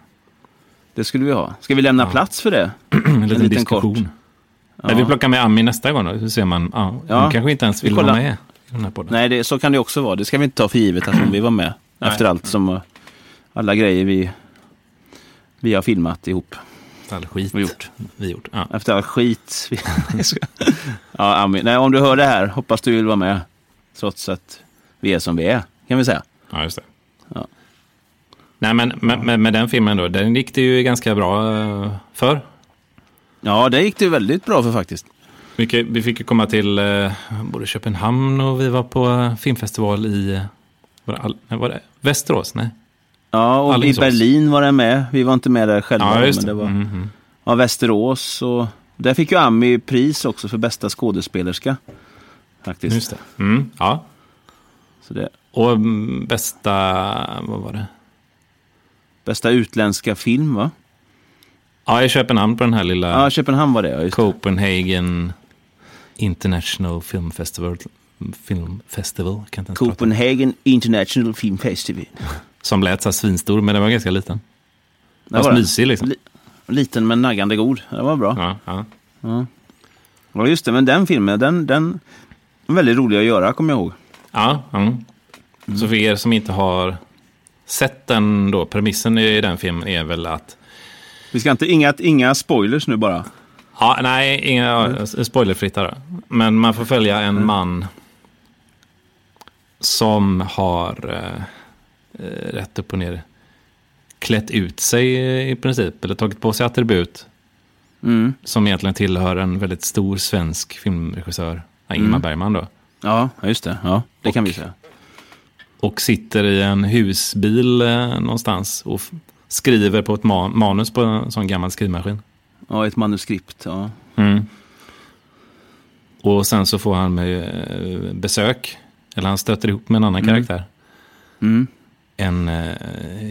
Speaker 2: Det skulle vi ha. Ska vi lämna plats för det?
Speaker 1: eh, en liten
Speaker 2: liten
Speaker 1: diskussion?
Speaker 2: kort.
Speaker 1: Nej, vi plockar med Ami nästa gång då. Hur ser man? Ja,
Speaker 2: Ja.
Speaker 1: Hon kanske inte ens
Speaker 2: Vi
Speaker 1: vill vara
Speaker 2: kollar.
Speaker 1: med i den här podden.
Speaker 2: Nej, det, så kan det också vara. Det ska vi inte ta för givet att hon vill vara med. efter allt som, eh, alla grejer vi, vi har filmat ihop.
Speaker 1: All skit
Speaker 2: Vi gjort.
Speaker 1: Vi gjort. Ja.
Speaker 2: Efter all skit. vi- Jag ska- ja, Ami, nej, om du hör det här, hoppas du vill vara med. Trots att vi är som vi är, kan vi säga.
Speaker 1: ja, just det.
Speaker 2: Ja.
Speaker 1: Nej, men med, med, med den filmen då, den gick det ju ganska bra eh, för.
Speaker 2: Ja, det gick det väldigt bra för faktiskt.
Speaker 1: Vi, kan- vi fick ju komma till eh, både Köpenhamn och vi var på eh, filmfestival i eh, var det, all, nej, var det Västerås. Nej,
Speaker 2: Ja, och i
Speaker 1: Alingsås.
Speaker 2: Berlin var den med. Vi var inte med där själva.
Speaker 1: ja, just
Speaker 2: men
Speaker 1: det.
Speaker 2: det var,
Speaker 1: Mm, mm.
Speaker 2: ja, Västerås och... Där fick ju Ami pris också för bästa skådespelerska. Faktiskt.
Speaker 1: Just det. Mm, ja.
Speaker 2: Så det,
Speaker 1: Och mm, bästa, vad var det?
Speaker 2: bästa utländska film, va?
Speaker 1: Ja, i Köpenhamn på den här lilla
Speaker 2: Ja, Köpenhamn var det, ja. Just. det.
Speaker 1: Copenhagen International Film Festival. Film Festival kan inte ens prata.
Speaker 2: Copenhagen International Film Festival.
Speaker 1: Som lät så här svinstor, men den var ganska liten.
Speaker 2: Där
Speaker 1: Fast
Speaker 2: var den.
Speaker 1: mysig liksom.
Speaker 2: Li- Liten men naggande god. Det var bra. Ja.
Speaker 1: Ja, ja.
Speaker 2: just det. Men den filmen, den, den var väldigt rolig att göra, kommer jag ihåg.
Speaker 1: Ja, ja. Så för er som inte har sett den då, premissen i den filmen är väl att...
Speaker 2: Vi ska inte... Inga, inga spoilers nu bara.
Speaker 1: Ja, nej, inga spoilerfritt här då. Men man får följa en man som har eh, eh, rätt upp och ner klätt ut sig eh, i princip, eller tagit på sig attribut
Speaker 2: Mm.
Speaker 1: som egentligen tillhör en väldigt stor svensk filmregissör, ja, Ingmar Bergman då.
Speaker 2: Ja, ja, just det. Ja, det kan
Speaker 1: Och-
Speaker 2: vi säga.
Speaker 1: och sitter i en husbil eh, någonstans och f- skriver på ett ma- manus på en sån gammal skrivmaskin.
Speaker 2: Ja, ett manuskript. Ja.
Speaker 1: Mm. Och sen så får han eh, besök, eller han stöter ihop med en annan karaktär.
Speaker 2: Mm.
Speaker 1: En eh,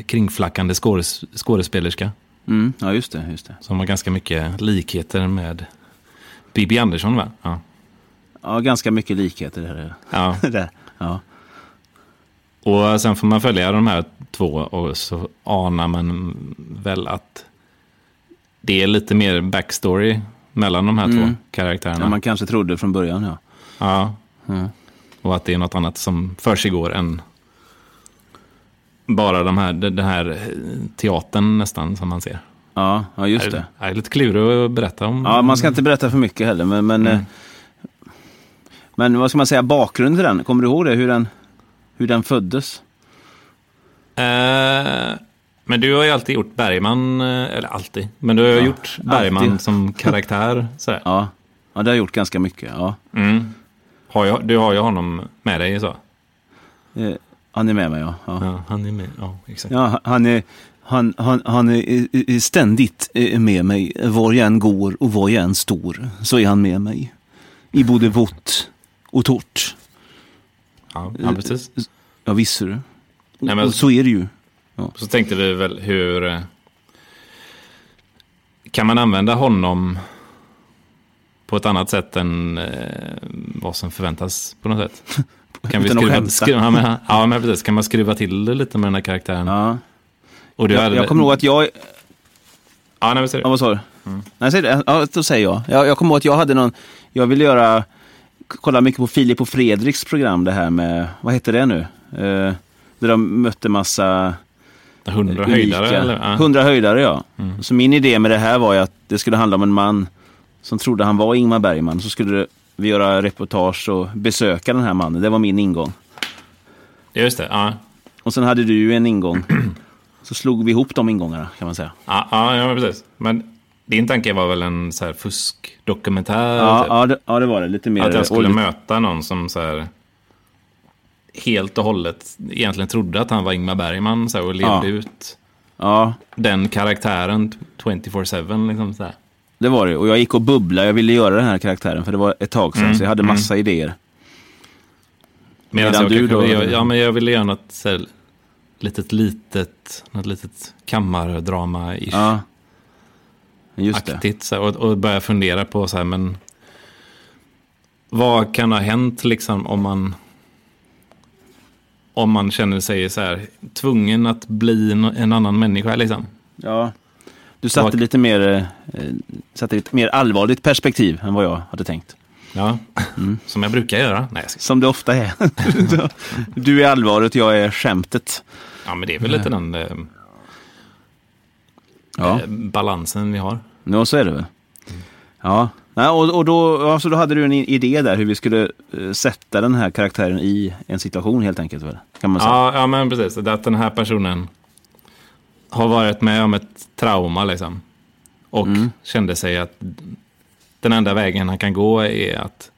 Speaker 1: kringflackande skådes- skådespelerska
Speaker 2: Mm, ja, just det. Just det.
Speaker 1: som har ganska mycket likheter med Bibi Andersson va? Ja.
Speaker 2: Ja, ganska mycket likheter. Där.
Speaker 1: ja.
Speaker 2: där. Ja.
Speaker 1: Och sen får man följa de här två och så anar man väl att det är lite mer backstory mellan de här två karaktärerna.
Speaker 2: Ja, man kanske trodde från början, ja.
Speaker 1: Ja. Och att det är något annat som försiggår än bara de här, den här eh, teatern nästan som man ser.
Speaker 2: Ja, ja just det.
Speaker 1: Jag är lite klurig att berätta om.
Speaker 2: Ja, man ska inte berätta för mycket heller, men... Men, eh, men vad ska man säga, bakgrunden till den? Kommer du ihåg det? Hur den, hur den föddes?
Speaker 1: Eh, men du har ju alltid gjort Bergman, eh, eller alltid, men du har ju gjort Bergman
Speaker 2: alltid.
Speaker 1: som karaktär. Sådär.
Speaker 2: Ja, ja det har jag gjort ganska mycket. Ja.
Speaker 1: Mm. Har jag, du har ju honom med dig så.
Speaker 2: Eh, Han är med mig, ja. ja.
Speaker 1: Ja, han är med, ja exakt.
Speaker 2: ja han är... Han, han, han är eh, eh, ständigt eh, med mig. Var jag än går och var jag än står så är han med mig. I både vått och torrt.
Speaker 1: Ja, ja, precis.
Speaker 2: Ja, visste du.
Speaker 1: Nej, men-
Speaker 2: Och så är det ju.
Speaker 1: Så tänkte vi väl hur... eh, Kan man använda honom på ett annat sätt än eh, vad som förväntas på något sätt? Kan
Speaker 2: Utan att
Speaker 1: skruva,
Speaker 2: skämta.
Speaker 1: skruva, ja, men, ja, men precis. Kan man skruva till det lite med den här karaktären?
Speaker 2: Ja.
Speaker 1: Och du
Speaker 2: Jag,
Speaker 1: hade-
Speaker 2: jag kommer ihåg att jag...
Speaker 1: Ja, nej, men ser
Speaker 2: Ja,
Speaker 1: du.
Speaker 2: vad sa du?
Speaker 1: Mm.
Speaker 2: Nej, säg det. Ja, då säger jag. jag. Jag kommer ihåg att jag hade någon... Jag ville göra... Kolla mycket på Filip och Fredriks program det här med... Vad heter det nu? Eh, där de mötte massa...
Speaker 1: Hundra
Speaker 2: unika-
Speaker 1: höjdare eller? Ja. Mm.
Speaker 2: Hundra höjdare, ja. Så min idé med det här var ju att det skulle handla om en man som trodde han var Ingmar Bergman. Så skulle det- vi göra reportage och besöka den här mannen. Det var min ingång.
Speaker 1: Just det, ja.
Speaker 2: Och sen hade du ju en ingång. Så slog vi ihop de ingångarna kan man säga.
Speaker 1: Ja, ja, ja, men precis. Men din tanke var väl en så här fuskdokumentär?
Speaker 2: Ja,
Speaker 1: typ?
Speaker 2: ja, det, ja, det var det. Lite mer...
Speaker 1: Att jag
Speaker 2: och
Speaker 1: skulle
Speaker 2: lite-
Speaker 1: möta någon som så här helt och hållet egentligen trodde att han var Ingmar Bergman så här, och levde
Speaker 2: Ja.
Speaker 1: ut
Speaker 2: ja,
Speaker 1: den karaktären 24-7. Liksom, så här.
Speaker 2: det var det. Och jag gick och bubblade. Jag ville göra den här karaktären för det var ett tag sedan.
Speaker 1: Mm,
Speaker 2: Så jag hade massa idéer.
Speaker 1: Medan
Speaker 2: Medan
Speaker 1: jag,
Speaker 2: du
Speaker 1: kanske
Speaker 2: då-
Speaker 1: ville göra- ja, men jag ville göra något så här, litet, litet, något litet kammardrama-ish.
Speaker 2: Ja. Just det.
Speaker 1: aktigt så här, och, och börja fundera på så här, men vad kan ha hänt liksom om man om man känner sig så här tvungen att bli en, en annan människa liksom.
Speaker 2: Ja. Du satte
Speaker 1: Vad-
Speaker 2: lite mer, eh, satte ett mer allvarligt perspektiv än vad jag hade tänkt.
Speaker 1: Ja, som jag brukar göra. Nej, jag ska-
Speaker 2: Som det ofta är. du är allvaret, jag är skämtet.
Speaker 1: ja, men det är väl lite den eh,
Speaker 2: Ja,
Speaker 1: eh, balansen vi har.
Speaker 2: ja så är det väl. Ja, Nej, och, och då, alltså då hade du en i- idé där hur vi skulle eh, sätta den här karaktären i en situation helt enkelt. Väl? Kan man säga.
Speaker 1: Ja, ja, men precis. Det är Att den här personen har varit med om ett trauma liksom. Och kände sig att den enda vägen han kan gå är att,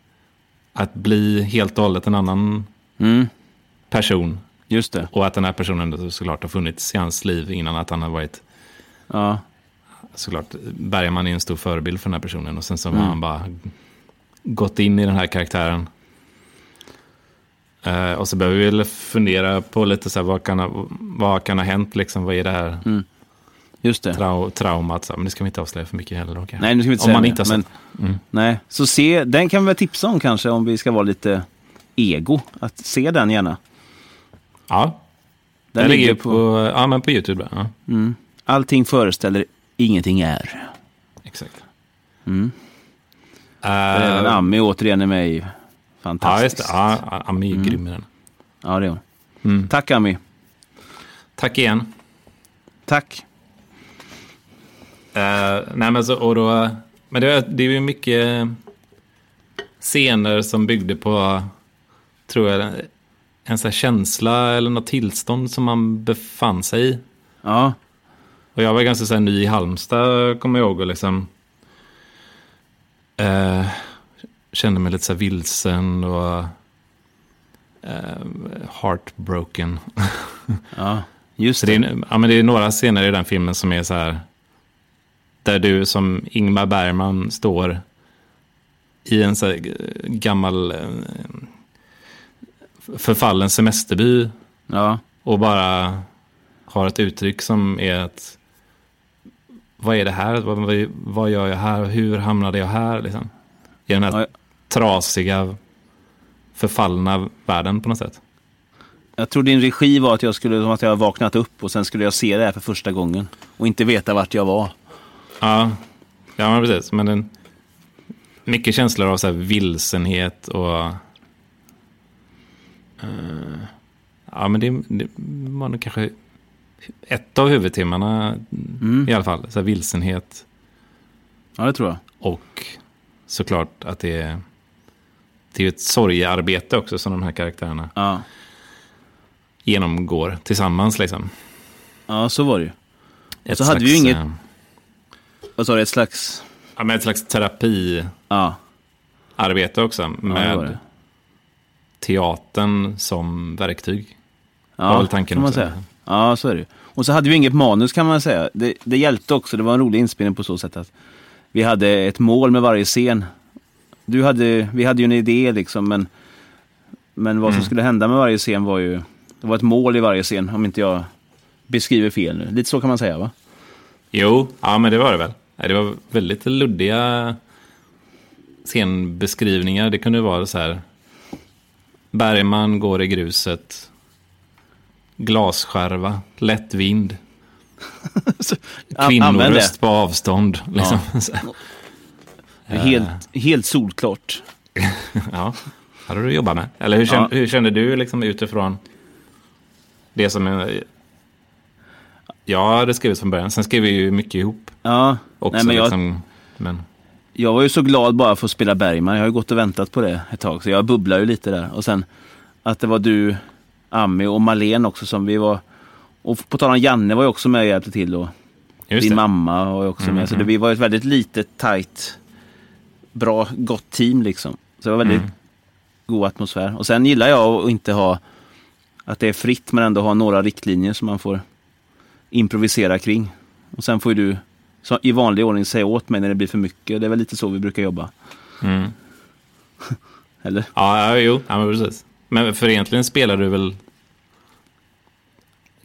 Speaker 1: att bli helt och hållet en annan
Speaker 2: Mm,
Speaker 1: person.
Speaker 2: just det.
Speaker 1: Och att den här personen då såklart har funnits i hans liv innan att han har varit,
Speaker 2: Ja,
Speaker 1: såklart, Bergman är en stor förebild för den här personen. Och sen så
Speaker 2: Mm.
Speaker 1: har han bara gått in i den här karaktären. Eh, och så behöver vi väl fundera på lite så här, vad kan ha, vad kan ha hänt liksom, vad är det här
Speaker 2: Mm. just det.
Speaker 1: trau, traumat. Så, här, men det ska vi inte avslöja för mycket heller. då, kanske.
Speaker 2: Nej, nu ska vi inte
Speaker 1: Om
Speaker 2: säga
Speaker 1: man
Speaker 2: det,
Speaker 1: inte har sett. Mm.
Speaker 2: Nej, så se, den kan vi väl tipsa om kanske om vi ska vara lite ego. Att se den gärna.
Speaker 1: Ja,
Speaker 2: Den,
Speaker 1: ligger, på... ja, men på YouTube. Ja,
Speaker 2: Mm. Allting föreställer, ingenting är.
Speaker 1: exakt.
Speaker 2: Mm.
Speaker 1: Eh,
Speaker 2: Där Även Ami återigen är med i
Speaker 1: ja, just det.
Speaker 2: Fantastiskt. Mm.
Speaker 1: Ja, ja, Ami är grym i den.
Speaker 2: Ja, det är hon.
Speaker 1: Mm.
Speaker 2: Tack Ami.
Speaker 1: Tack igen.
Speaker 2: Tack.
Speaker 1: Eh, nej, men så, och då, men det, är- det är ju mycket scener som byggde på, tror jag, en sån här känsla eller något tillstånd som man befann sig i.
Speaker 2: Ja,
Speaker 1: Och jag var ganska så här, ny i Halmstad, kommer jag ihåg. Och liksom, eh, kände mig lite så här vilsen och eh, heartbroken.
Speaker 2: ja. just
Speaker 1: Så
Speaker 2: det.
Speaker 1: det, är, ja, men det är några scener i den filmen som är så här, där du som Ingmar Bergman står i en så här eh, gammal eh, förfallen semesterby
Speaker 2: Ja,
Speaker 1: och bara har ett uttryck som är att vad är det här? Vad, vad, vad gör jag här? Hur hamnade jag här? Liksom. I den här
Speaker 2: Ja.
Speaker 1: trasiga, förfallna världen på något sätt.
Speaker 2: jag tror din regi var att jag skulle, som att jag vaknat upp och sen skulle jag se det här för första gången. Och inte veta vart jag var.
Speaker 1: Ja, ja men precis. Men den, mycket känslor av så här vilsenhet och... eh, Ja, men det, det var nog kanske ett av huvudtimmarna
Speaker 2: Mm.
Speaker 1: i alla fall. Så här, vilsenhet
Speaker 2: Ja, det tror jag.
Speaker 1: och såklart att det är, det är ju ett sorgearbete också som de här karaktärerna
Speaker 2: Ja,
Speaker 1: genomgår tillsammans. Liksom.
Speaker 2: ja så var det ju.
Speaker 1: Ett
Speaker 2: så hade vi ju inget-
Speaker 1: eh,
Speaker 2: Vad sa du? Ett slags...
Speaker 1: Ja, men ett slags terapiarbete
Speaker 2: Ja,
Speaker 1: också
Speaker 2: ja det var
Speaker 1: med
Speaker 2: det.
Speaker 1: teatern som verktyg.
Speaker 2: Ja,
Speaker 1: var väl tanken
Speaker 2: får man
Speaker 1: också.
Speaker 2: säga. Ja, så är det ju. Och så hade vi inget manus kan man säga. Det, det hjälpte också. Det var en rolig inspelning på så sätt att vi hade ett mål med varje scen. Du hade, vi hade ju en idé liksom, men, men vad som
Speaker 1: Mm.
Speaker 2: skulle hända med varje scen var ju... Det var ett mål i varje scen, om inte jag beskriver fel nu. Lite så kan man säga, va?
Speaker 1: Jo, ja men det var det väl. Nej, Det var väldigt luddiga scenbeskrivningar. Det kunde vara så här. Bergman går i gruset. Glasskärva, lätt vind,
Speaker 2: An- använd det.
Speaker 1: kvinnoröst på avstånd. Liksom. Så här.
Speaker 2: Helt, helt solklart.
Speaker 1: Ja, här har du jobbat med. Eller hur kände, hur kände du liksom utifrån det som eh, jag hade skrivit från början? Sen skrev vi ju mycket ihop
Speaker 2: Ja,
Speaker 1: också.
Speaker 2: Nej, men jag-
Speaker 1: liksom, men...
Speaker 2: Jag var ju så glad bara för att spela Bergman. Jag har ju gått och väntat på det ett tag, så jag bubblar ju lite där. Och sen att det var du, Ami och Malen också som vi var... Och på tal om Janne var ju också med och hjälpte till och
Speaker 1: Just
Speaker 2: din
Speaker 1: det. Mm,
Speaker 2: mamma var ju också med. Så det, vi var ett väldigt litet, tajt, bra, gott team liksom. Så det var
Speaker 1: Mm.
Speaker 2: väldigt god atmosfär. Och sen gillar jag att inte ha... Att det är fritt men ändå ha några riktlinjer som man får improvisera kring. Och sen får ju du så, i vanlig ordning säga åt mig när det blir för mycket. Det är väl lite så vi brukar jobba.
Speaker 1: Mm.
Speaker 2: Eller?
Speaker 1: Ja, ja, jo, ja, men precis. Men för egentligen spelar du väl...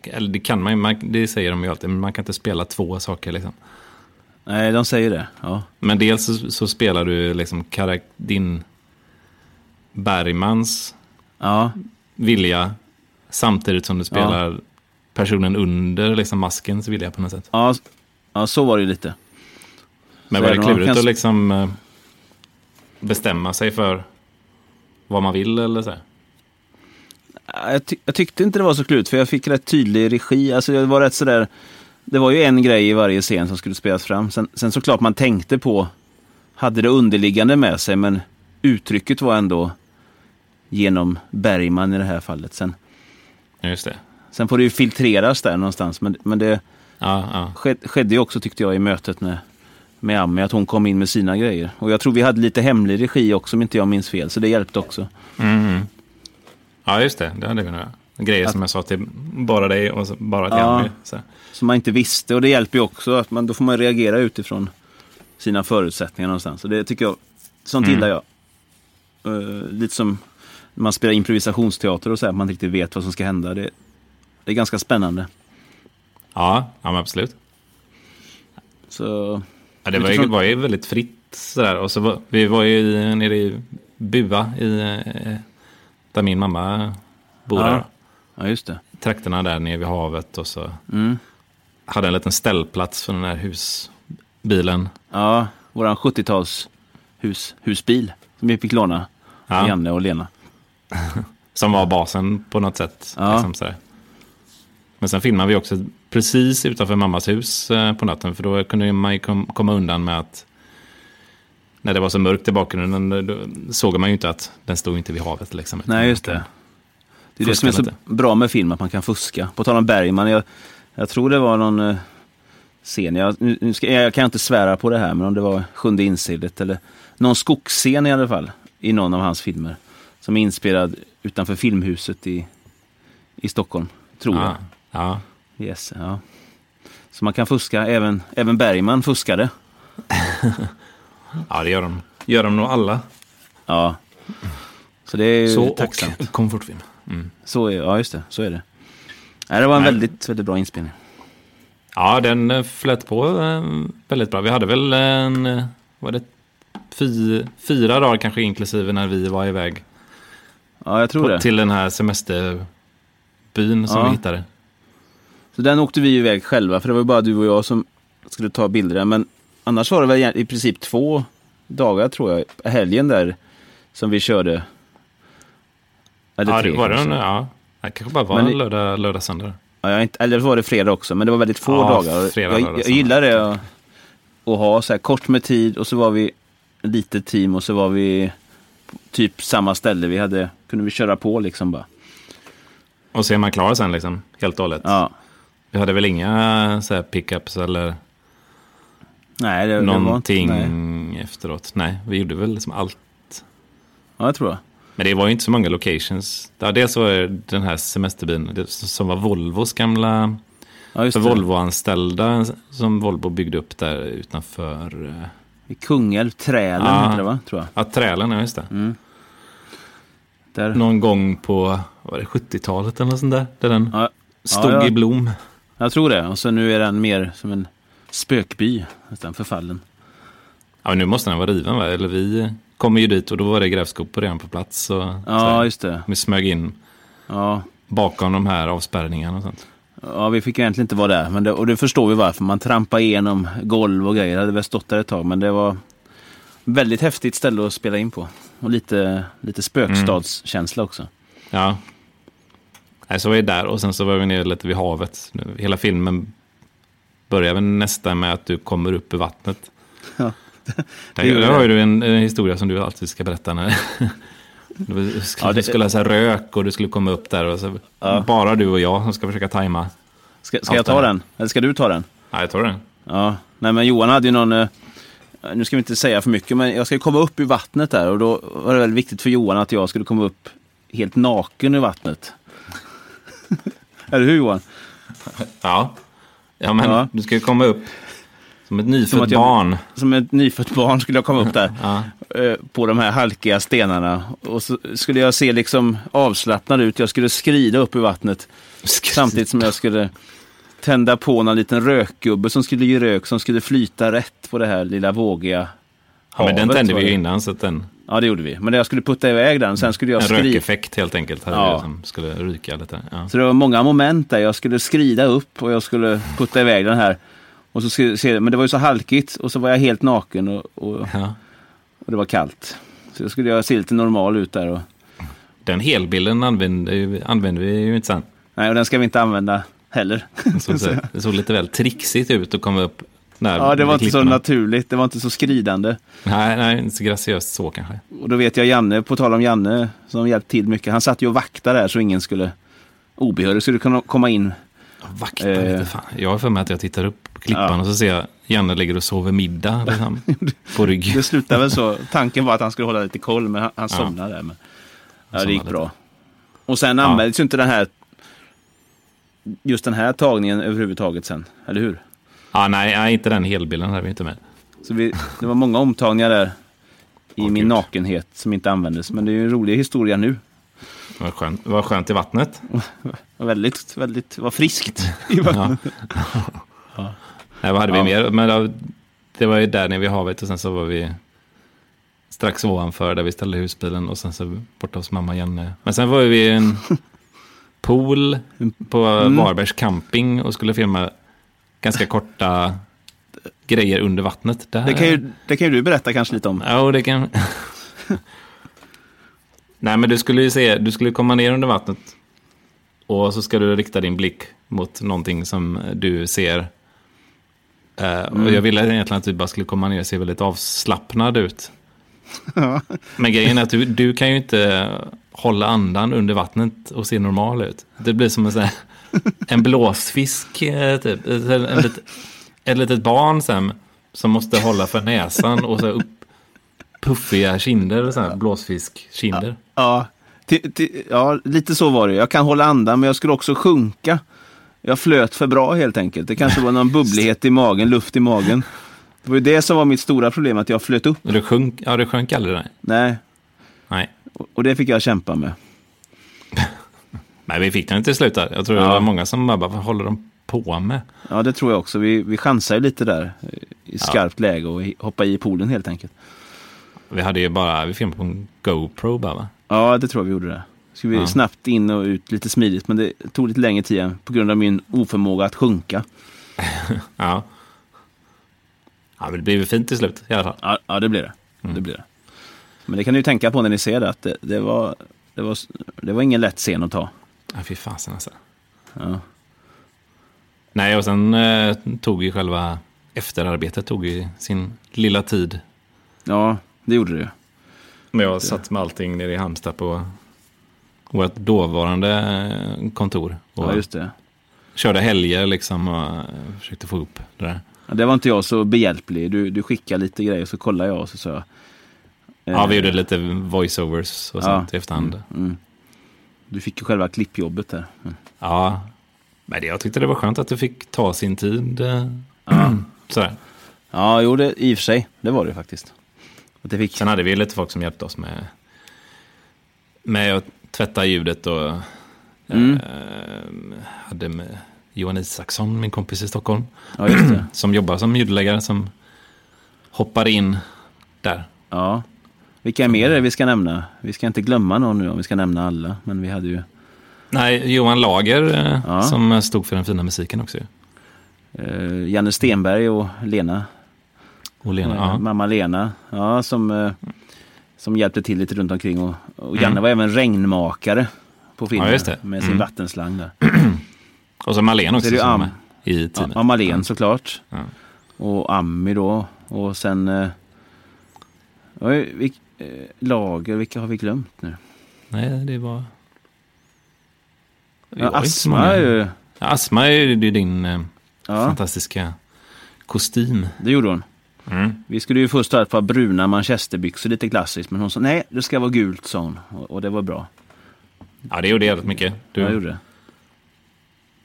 Speaker 1: Eller det kan man ju, man, det säger de ju alltid, men man kan inte spela två saker liksom.
Speaker 2: Nej, de säger det. Ja.
Speaker 1: Men dels så, så spelar du liksom karak- din Bergmans
Speaker 2: Ja.
Speaker 1: vilja samtidigt som du spelar personen under liksom maskens vilja på något sätt.
Speaker 2: Ja, s- ja, så var det ju lite.
Speaker 1: Men
Speaker 2: Så
Speaker 1: var
Speaker 2: är
Speaker 1: det
Speaker 2: det någon
Speaker 1: klurigt
Speaker 2: kanske-
Speaker 1: att liksom eh, bestämma sig för vad man vill eller så? här?
Speaker 2: Ja, Jag, ty- jag tyckte inte det var så klut för jag fick rätt tydlig regi. Alltså, det var rätt sådär... Det var ju en grej i varje scen som skulle spelas fram. Sen, sen såklart man tänkte på, hade det underliggande med sig, men uttrycket var ändå genom Bergman i det här fallet. Sen,
Speaker 1: Ja, Just det.
Speaker 2: sen får det ju filtreras där någonstans, men, men det
Speaker 1: Ja, ja.
Speaker 2: sked, skedde ju också tyckte jag i mötet med, med Ami, att hon kom in med sina grejer. Och jag tror vi hade lite hemlig regi också om inte jag minns fel, så det hjälpte också.
Speaker 1: Mm. Ja, just det. Det hade vi nog. Grejer som jag sa till bara dig och så- bara till
Speaker 2: Ja.
Speaker 1: Annie. Så.
Speaker 2: som man inte visste. Och det hjälper ju också att man, då får man reagera utifrån sina förutsättningar någonstans. Och det tycker jag, sånt gillar jag. Eh, lite som när man spelar improvisationsteater och så här, att man inte riktigt vet vad som ska hända. Det, det är ganska spännande.
Speaker 1: Ja, ja men absolut.
Speaker 2: Så,
Speaker 1: Ja, det var ju,
Speaker 2: Utifrån-
Speaker 1: var ju väldigt fritt sådär. Och så var, vi var ju i, nere i Bua, i, eh, där min mamma bor.
Speaker 2: Ja.
Speaker 1: Där, då.
Speaker 2: ja just det.
Speaker 1: trakterna där nere vid havet. Och så
Speaker 2: Mm.
Speaker 1: hade en liten ställplats för den här husbilen.
Speaker 2: Ja, våran 70-tals hus, husbil som vi fick låna,
Speaker 1: Ja.
Speaker 2: Janne och Lena.
Speaker 1: Som var basen på något sätt.
Speaker 2: Ja.
Speaker 1: Liksom sådär. Men sen filmade vi också precis utanför mammas hus eh, på natten. För då kunde man ju kom, komma undan med att när det var så mörkt i bakgrunden då såg man ju inte att den stod inte vid havet. Liksom.
Speaker 2: Nej, just det. Det är det
Speaker 1: Fuska
Speaker 2: som är så
Speaker 1: lite.
Speaker 2: bra med film, att man kan fuska. På tal om Bergman, jag, jag tror det var någon eh, scen, jag, nu, nu ska, jag kan inte svära på det här, men om det var Sjunde insidet eller någon skogsscen i alla fall, i någon av hans filmer. Som är inspelad utanför Filmhuset i, i Stockholm, tror
Speaker 1: Ja, ja.
Speaker 2: jag. Yes, ja. Så man kan fuska, även, även Bergman fuskade.
Speaker 1: ja, det gör de. Gör de nog alla.
Speaker 2: Ja. Så det är ju
Speaker 1: Så och
Speaker 2: tacksamt.
Speaker 1: komfortfilm. Mm.
Speaker 2: Så är, ja, just det, så är det. Nej, det var en
Speaker 1: Nej.
Speaker 2: väldigt, väldigt bra inspelning.
Speaker 1: Ja, den eh, flöt på eh, väldigt bra. Vi hade väl en, eh, var det fy, fyra dagar kanske inklusive när vi var iväg.
Speaker 2: Ja, jag tror
Speaker 1: På,
Speaker 2: det.
Speaker 1: till den här semesterbyn som
Speaker 2: Ja.
Speaker 1: vi hittade.
Speaker 2: Så den åkte vi ju iväg själva, för det var ju bara du och jag som skulle ta bilder där. Men annars var det väl egent- i princip två dagar, tror jag, helgen där som vi körde. Eller
Speaker 1: Ja,
Speaker 2: tre
Speaker 1: det var
Speaker 2: kanske.
Speaker 1: den, ja. Det kanske bara var
Speaker 2: Men-
Speaker 1: en lördag, lördag söndag.
Speaker 2: Ja, jag har inte, eller så var det fredag också, men det var väldigt få
Speaker 1: Ja,
Speaker 2: dagar.
Speaker 1: fredag,
Speaker 2: jag,
Speaker 1: lördag,
Speaker 2: jag
Speaker 1: söndag.
Speaker 2: gillar det att, att ha så här kort med tid och så var vi lite team och så var vi typ samma ställe. Vi hade, kunde vi köra på liksom bara.
Speaker 1: Och så är man klar sen liksom, helt och hållet.
Speaker 2: Ja.
Speaker 1: Vi hade väl inga så här pickups eller
Speaker 2: Nej, det,
Speaker 1: någonting
Speaker 2: det var inte... Nej.
Speaker 1: efteråt. Nej, vi gjorde väl liksom allt.
Speaker 2: Ja, jag tror det.
Speaker 1: Men det var ju inte så många locations. Ja, dels var det den här semesterbilen det som var Volvos gamla
Speaker 2: Ja, just
Speaker 1: för
Speaker 2: det.
Speaker 1: Volvo-anställda som Volvo byggde upp där utanför eh,
Speaker 2: I Kungälv, Trälen
Speaker 1: Ja.
Speaker 2: heter det va? Tror jag.
Speaker 1: ja, Trälen. Ja, just det.
Speaker 2: Mm. Där.
Speaker 1: Någon gång på var det 70-talet eller något sånt där. Där den
Speaker 2: Ja,
Speaker 1: stod
Speaker 2: ja.
Speaker 1: i blom.
Speaker 2: jag tror det. Och så nu är den mer som en spökby, nästan förfallen.
Speaker 1: Ja, men nu måste den vara riven va? Eller vi kommer ju dit och då var det grävskopor redan på plats. Och, så
Speaker 2: Ja,
Speaker 1: här.
Speaker 2: just det.
Speaker 1: vi smög in
Speaker 2: Ja,
Speaker 1: bakom de här avspärrningarna och sånt.
Speaker 2: Ja, vi fick ju egentligen inte vara där. Men det, och det förstår vi varför. Man trampar igenom golv och grejer. Det hade väl stått där ett tag. Men det var väldigt häftigt ställe att spela in på. Och lite, lite spökstadskänsla också.
Speaker 1: Ja. Nej, så var vi där och sen så var vi nere lite vid havet. Nu, Hela filmen börjar väl nästan med att du kommer upp ur vattnet.
Speaker 2: Ja.
Speaker 1: Där,
Speaker 2: Det gör
Speaker 1: där
Speaker 2: det.
Speaker 1: har ju du en, en historia som du alltid ska berätta. När du skulle,
Speaker 2: Ja, det-
Speaker 1: du skulle läsa rök och du skulle komma upp där. Och så, Bara du och jag som ska försöka tajma.
Speaker 2: Ska, ska jag
Speaker 1: Allt det
Speaker 2: ta
Speaker 1: här.
Speaker 2: den? Eller ska du ta den?
Speaker 1: Ja, jag tror det.
Speaker 2: Ja. Nej, men Johan hade ju någon... eh, Nu ska vi inte säga för mycket, men jag ska ju komma upp ur vattnet där. Och då var det väldigt viktigt för Johan att jag skulle komma upp helt naken ur vattnet. Eller hur Johan?
Speaker 1: Ja, ja men
Speaker 2: Ja.
Speaker 1: du ska ju komma upp som ett nyfött
Speaker 2: Som att jag-
Speaker 1: barn.
Speaker 2: Som ett nyfött barn skulle jag komma upp där.
Speaker 1: Ja.
Speaker 2: eh, på de här halkiga stenarna. Och så skulle jag se liksom avslappnad ut. Jag skulle skrida upp i vattnet samtidigt som jag skulle tända på någon liten rökgubbe som skulle ge rök som skulle flyta rätt på det här lilla vågiga
Speaker 1: Ja, men den
Speaker 2: havet,
Speaker 1: tände
Speaker 2: var
Speaker 1: vi ju
Speaker 2: det.
Speaker 1: innan så att den,
Speaker 2: Ja, det gjorde vi. Men jag skulle putta iväg den. Sen skulle
Speaker 1: en
Speaker 2: jag skrida.
Speaker 1: rökeffekt helt enkelt hade
Speaker 2: Ja.
Speaker 1: vi som skulle ryka lite. Ja.
Speaker 2: Så det var många moment där. Jag skulle skrida upp och jag skulle putta iväg den här. Och så skulle, se- men det var ju så halkigt och så var jag helt naken och, och, och
Speaker 1: Ja.
Speaker 2: det var kallt. Så då skulle jag se lite normal ut där. Och,
Speaker 1: Den helbilden använde, ju- använde vi ju inte sen.
Speaker 2: nej, och den ska vi inte använda heller.
Speaker 1: Så att säga. Det såg lite väl trixigt ut att komma upp. Där
Speaker 2: Ja, det
Speaker 1: vid
Speaker 2: var inte så
Speaker 1: klipporna.
Speaker 2: naturligt. Det var inte så skridande.
Speaker 1: Nej, nej, inte så graciöst så kanske.
Speaker 2: Och då vet jag Janne, på tal om Janne, som hjälpt till mycket. Han satt ju och vaktade där så ingen skulle obehörig skulle kunna komma in.
Speaker 1: Vakta
Speaker 2: Eh.
Speaker 1: lite fan. Jag har för mig att jag tittar upp på klippan
Speaker 2: Ja.
Speaker 1: och så ser jag Janne ligger och sover middag liksom, på rygg.
Speaker 2: Det slutade väl så. Tanken var att han skulle hålla lite koll, men han, han somnade där. Men, ja, det gick
Speaker 1: somnade
Speaker 2: bra. Och sen användes ju inte den här just den här tagningen överhuvudtaget sen, eller hur?
Speaker 1: Ja, nej, nej, inte den helbilden hade vi inte med.
Speaker 2: Så vi, det var många omtagningar där i
Speaker 1: Åh,
Speaker 2: min
Speaker 1: Gud.
Speaker 2: nakenhet som inte användes. Men det är ju en rolig historia nu.
Speaker 1: Vad skönt, vad skönt i vattnet.
Speaker 2: Och Väldigt, väldigt, var friskt i vattnet.
Speaker 1: Nej, vad hade vi
Speaker 2: Ja.
Speaker 1: mer? Men då, det var ju där nere vid havet och sen så var vi strax ovanför där vi ställde husbilen och sen så borta hos mamma Janne. Men sen var vi i en pool
Speaker 2: Mm.
Speaker 1: på Varbergs camping och skulle filma ganska korta grejer under vattnet. Där.
Speaker 2: Det kan, ju, det kan ju du berätta kanske lite om.
Speaker 1: Ja, och det kan... Nej, men du skulle ju se, du skulle komma ner under vattnet och så ska du rikta din blick mot någonting som du ser. Eh, Och jag ville egentligen att du bara skulle komma ner och se väldigt avslappnad ut. Men grejen är att du, du kan ju inte hålla andan under vattnet och se normal ut. Det blir som en, sån här, en blåsfisk, eh, typ. En, en, lit- ett litet barn sen, som måste hålla för näsan och så här upp, puffiga kinder, så här, blåsfiskkinder.
Speaker 2: Ja, ti- ti- ja, lite så var det. Jag kan hålla andan, men jag skulle också sjunka. Jag flöt för bra helt enkelt. Det kanske var någon bubblighet i magen, luft i magen. Det var ju det som var mitt stora problem, att jag flöt upp.
Speaker 1: Och det sjönk, ja, det sjönk aldrig. Nej.
Speaker 2: Nej,
Speaker 1: nej.
Speaker 2: och- och det fick jag kämpa med.
Speaker 1: Men vi fick den till slut där. Jag tror det
Speaker 2: Ja.
Speaker 1: var många som bara, vad håller de på med?
Speaker 2: Ja, det tror jag också. Vi, vi chansade ju lite där eh, i skarpt läge och i- hoppade i poolen helt enkelt.
Speaker 1: Vi hade ju bara, vi filmade på en GoPro bara va?
Speaker 2: Ja, det tror jag vi gjorde det. Skulle vi
Speaker 1: Ja.
Speaker 2: snabbt in och ut lite smidigt, men det tog lite längre tid än på grund av min oförmåga att sjunka.
Speaker 1: Ja. Ja, men det blev ju fint till slut i alla fall.
Speaker 2: Ja, ja det blir det.
Speaker 1: Mm.
Speaker 2: det blir det. Men det kan ni ju tänka på när ni ser det, att det, det, var, det, var, det var ingen lätt scen att ta.
Speaker 1: Ja, fy fasen alltså.
Speaker 2: Ja.
Speaker 1: Nej, och sen eh, tog ju själva efterarbetet tog ju sin lilla tid.
Speaker 2: ja, det gjorde det ju.
Speaker 1: Men jag satt med allting nere i Halmstad på vårt dåvarande eh, kontor. Och
Speaker 2: Ja, just det.
Speaker 1: körde helger liksom och eh, försökte få ihop det där.
Speaker 2: Ja, det var inte jag så behjälplig. Du, du skickade lite grejer så kollade jag och så sa jag.
Speaker 1: Ja,
Speaker 2: eh,
Speaker 1: vi gjorde lite voiceovers och
Speaker 2: Ja.
Speaker 1: sånt i efterhand.
Speaker 2: Mm. Du fick ju själva klippjobbet där. Mm.
Speaker 1: Ja, men det, jag tyckte det var skönt att det fick ta sin tid. eh, Sådär.
Speaker 2: Ja, jo, det, i och för sig. Det var det ju faktiskt. Att det fick...
Speaker 1: Sen hade vi lite folk som hjälpte oss med, med att tvätta ljudet och
Speaker 2: Mm.
Speaker 1: eh, hade med Johan Isaksson, min kompis i Stockholm,
Speaker 2: Ja, just det.
Speaker 1: som jobbar som ljudläggare som hoppar in där.
Speaker 2: Ja. Vilka mer är det vi ska nämna? Vi ska inte glömma någon nu om vi ska nämna alla. Men vi hade ju...
Speaker 1: Nej, Johan Lager eh,
Speaker 2: Ja.
Speaker 1: som stod för den fina musiken också. ju.
Speaker 2: Eh, Janne Stenberg och Lena.
Speaker 1: Och Lena,
Speaker 2: Eh,
Speaker 1: ja.
Speaker 2: Mamma Lena. Ja, som, eh, som hjälpte till lite runt omkring. Och, och Janne var även regnmakare på filmen.
Speaker 1: Mm. Ja, just det.
Speaker 2: Med sin
Speaker 1: Mm.
Speaker 2: vattenslang där.
Speaker 1: Och så Malene också
Speaker 2: Så är det
Speaker 1: som var
Speaker 2: Am-
Speaker 1: med i teamet.
Speaker 2: Ja, Malén såklart.
Speaker 1: Ja.
Speaker 2: Och Ammi då. Och sen... Eh, oj, vilk, eh, lager, vilka har vi glömt nu?
Speaker 1: Nej, det var... Det
Speaker 2: Ja,
Speaker 1: var inte så
Speaker 2: Asma
Speaker 1: många.
Speaker 2: är ju...
Speaker 1: Ja, Asma är ju det är din eh,
Speaker 2: Ja,
Speaker 1: fantastiska kostym.
Speaker 2: det gjorde hon.
Speaker 1: Mm.
Speaker 2: Vi skulle ju först ha ett par bruna manchesterbyxor, lite klassiskt. Men hon sa nej, det ska vara gult, sa hon. Och, och det var bra.
Speaker 1: Ja, det gjorde jävligt mycket.
Speaker 2: Du. Jag
Speaker 1: Du,
Speaker 2: gjorde det.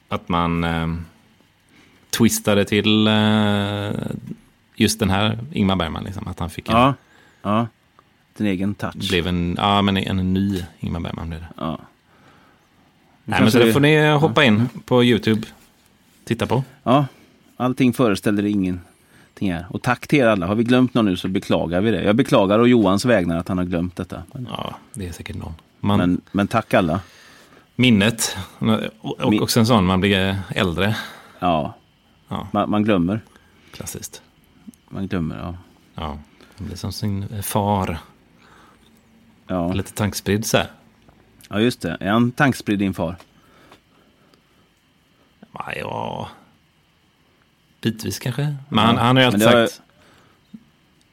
Speaker 1: att man eh, twistade till eh, just den här Ingmar Bergman. Liksom, att han fick en,
Speaker 2: Ja. ja. Din egen touch.
Speaker 1: blev en, ja, men en ny Ingmar Bergman. Blev det.
Speaker 2: Ja. Nu
Speaker 1: Nej, men
Speaker 2: kanske
Speaker 1: så det
Speaker 2: vi-
Speaker 1: får ni hoppa in på YouTube. Titta på.
Speaker 2: Ja, allting föreställer ingenting här. Och tack till er alla. Har vi glömt någon nu så beklagar vi det. Jag beklagar och Johans vägnar att han har glömt detta. Men,
Speaker 1: Ja, det är säkert någon. Man,
Speaker 2: men, men tack alla.
Speaker 1: Minnet. Och, och
Speaker 2: Min-
Speaker 1: också en sån, man blir äldre.
Speaker 2: Ja,
Speaker 1: Ja,
Speaker 2: man, man glömmer.
Speaker 1: klassiskt.
Speaker 2: Man glömmer, ja.
Speaker 1: Ja, man blir som sin far.
Speaker 2: Ja,
Speaker 1: Lite tankspridd så här.
Speaker 2: ja just det. Är han tankspridd din far?
Speaker 1: Ja, ja. Bitvis kanske. Men han, han har ju
Speaker 2: Men
Speaker 1: alltid
Speaker 2: det har-
Speaker 1: sagt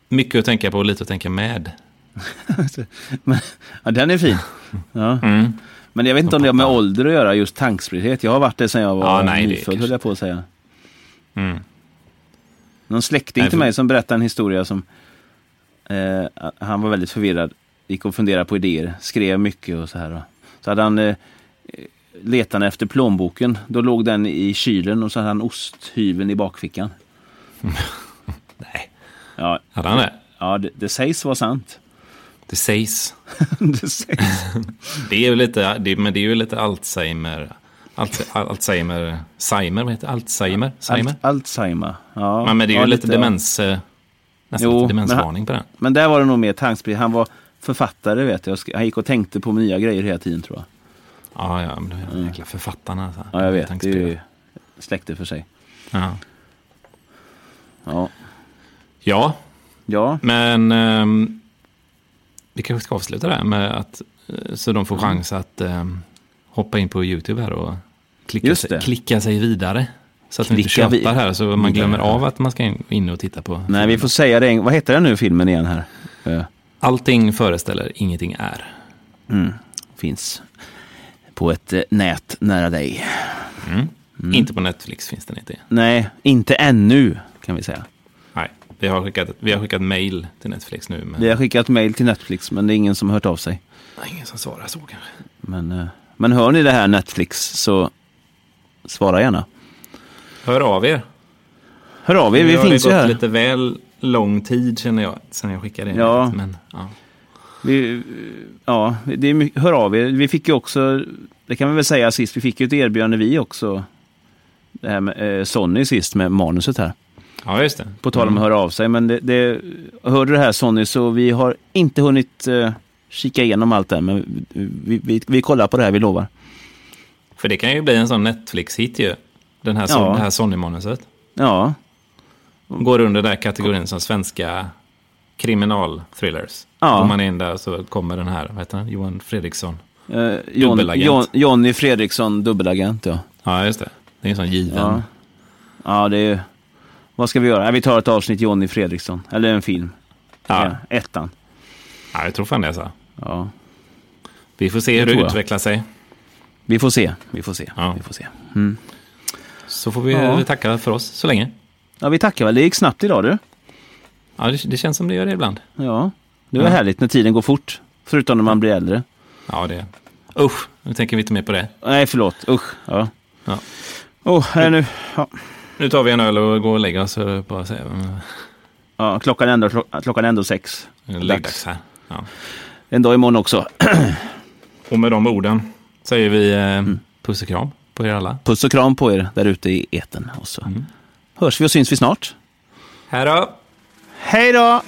Speaker 1: mycket att tänka på och lite att tänka med.
Speaker 2: Men, ja, den är fin. Ja.
Speaker 1: Mm.
Speaker 2: Men jag vet inte om det har med ålder att göra, just tankspriddhet. Jag har varit det sedan jag var
Speaker 1: Ja, nej, det är
Speaker 2: nyfödd, höll
Speaker 1: kanske-
Speaker 2: jag på att säga.
Speaker 1: Mm.
Speaker 2: Någon släkting
Speaker 1: Nej,
Speaker 2: till
Speaker 1: för-
Speaker 2: mig som berättade en historia som... Eh, han var väldigt förvirrad, gick och funderade på idéer, skrev mycket och så här. va. Så hade han eh, letat efter plånboken, då låg den i kylen och så hade han osthyveln i bakfickan.
Speaker 1: Nej,
Speaker 2: Ja,
Speaker 1: hade han det?
Speaker 2: ja det, det sägs vara sant.
Speaker 1: Det sägs.
Speaker 2: det sägs.
Speaker 1: Det är ju lite, det, men det är ju lite Alzheimer. Alt, Alzheimer. Seimer, vad heter det? Alzheimer? Seimer?
Speaker 2: Alt, Alzheimer. Ja,
Speaker 1: men, men det är ju
Speaker 2: ja,
Speaker 1: lite demens. eh, Nästan
Speaker 2: Jo,
Speaker 1: lite
Speaker 2: men han-
Speaker 1: demensvarning på den.
Speaker 2: Men där var det nog mer tankspridd. Han var författare vet jag. och sk- Han gick och tänkte på nya grejer hela tiden tror jag.
Speaker 1: Ja, ja, men de här jäkla författarna. Så här.
Speaker 2: Mm. Ja, jag vet. Det är
Speaker 1: Tankspridd.
Speaker 2: ju släkte för sig.
Speaker 1: ja.
Speaker 2: Ja,
Speaker 1: ja, Mm.
Speaker 2: ja
Speaker 1: Men ehm, vi kanske ska avsluta det här med att eh, så de får chans att ehm, hoppa in på YouTube här och klicka,
Speaker 2: Just
Speaker 1: sig,
Speaker 2: det.
Speaker 1: klicka sig vidare. Så att man inte
Speaker 2: Klicka vi-
Speaker 1: tjatar här så man glömmer
Speaker 2: vidare.
Speaker 1: av att man ska in- in och titta på.
Speaker 2: nej vi får säga det. en- Vad heter den nu filmen igen här? Eh,
Speaker 1: Allting föreställer, ingenting är.
Speaker 2: finns på ett eh, nät nära dig.
Speaker 1: Inte på Netflix finns den inte.
Speaker 2: Nej, inte ännu kan vi säga.
Speaker 1: Nej, vi har skickat, vi har skickat mail till Netflix nu. Men
Speaker 2: Vi har skickat mejl till Netflix men det är ingen som har hört av sig.
Speaker 1: Nej, ingen som svarar så kanske.
Speaker 2: Men, eh, men hör ni det här Netflix så svara gärna.
Speaker 1: Hör av er.
Speaker 2: Hör av er, vi
Speaker 1: har
Speaker 2: finns
Speaker 1: det
Speaker 2: ju
Speaker 1: gått
Speaker 2: här.
Speaker 1: lite väl lång tid känner jag sen jag skickade in.
Speaker 2: Ja.
Speaker 1: Men, ja.
Speaker 2: Vi, ja, det är, my- hör av er. Vi fick ju också, det kan vi väl säga sist, vi fick ju ett erbjudande vi också. Det här med eh, Sonny sist med manuset här.
Speaker 1: ja, just det. Mm.
Speaker 2: På tal om att höra av sig. Men det, det, hörde du det här Sonny, så vi har inte hunnit eh, kika igenom allt än. Men vi, vi, vi kollar på det här, vi lovar.
Speaker 1: För det kan ju bli en sån Netflix-hit ju. Den här, son-
Speaker 2: Ja.
Speaker 1: det här Sonny-manuset.
Speaker 2: Ja,
Speaker 1: Går under den där kategorin som svenska kriminalthrillers.
Speaker 2: Ja.
Speaker 1: Går man in där så kommer den här, vad heter han, Johan Fredriksson.
Speaker 2: Eh, Jon,
Speaker 1: Dubbelagent.
Speaker 2: Jon, Jonny Fredriksson, dubbelagent ja.
Speaker 1: Ja, just det. Det är en sån given.
Speaker 2: Ja, ja det är ju... Vad ska vi göra? Ja, vi tar ett avsnitt Jonny Fredriksson. Eller en film.
Speaker 1: Ja.
Speaker 2: Ja, ettan.
Speaker 1: Ja, jag tror fan det. Så.
Speaker 2: Ja.
Speaker 1: Vi får se hur
Speaker 2: Det
Speaker 1: det
Speaker 2: tror jag.
Speaker 1: utvecklar sig.
Speaker 2: Vi får se. Vi får se.
Speaker 1: Ja.
Speaker 2: Vi får se.
Speaker 1: Så får vi
Speaker 2: Ja.
Speaker 1: eh, tacka för oss så länge.
Speaker 2: Ja, vi tackar väl. Det gick snabbt idag du.
Speaker 1: Ja, det, det känns som det gör det ibland.
Speaker 2: Ja. Det var
Speaker 1: Ja.
Speaker 2: härligt när tiden går fort. Förutom när man blir äldre.
Speaker 1: Ja, det... Usch, nu tänker vi inte mer på det.
Speaker 2: Nej, förlåt. Usch. Ja.
Speaker 1: Ja.
Speaker 2: Åh, här är nu. Ja.
Speaker 1: Nu tar vi en öl och går och lägger oss. och Bara säger, mm,
Speaker 2: Ja, klockan är ändå, klo- klockan är ändå sex.
Speaker 1: läggdags här. Ja.
Speaker 2: En dag imorgon också.
Speaker 1: Och med de orden säger vi eh,
Speaker 2: Mm.
Speaker 1: puss och kram på er alla.
Speaker 2: Puss och kram på er där ute
Speaker 1: Mm.
Speaker 2: i etern. Och så hörs vi och syns vi snart.
Speaker 1: Hej då!
Speaker 2: Hej då!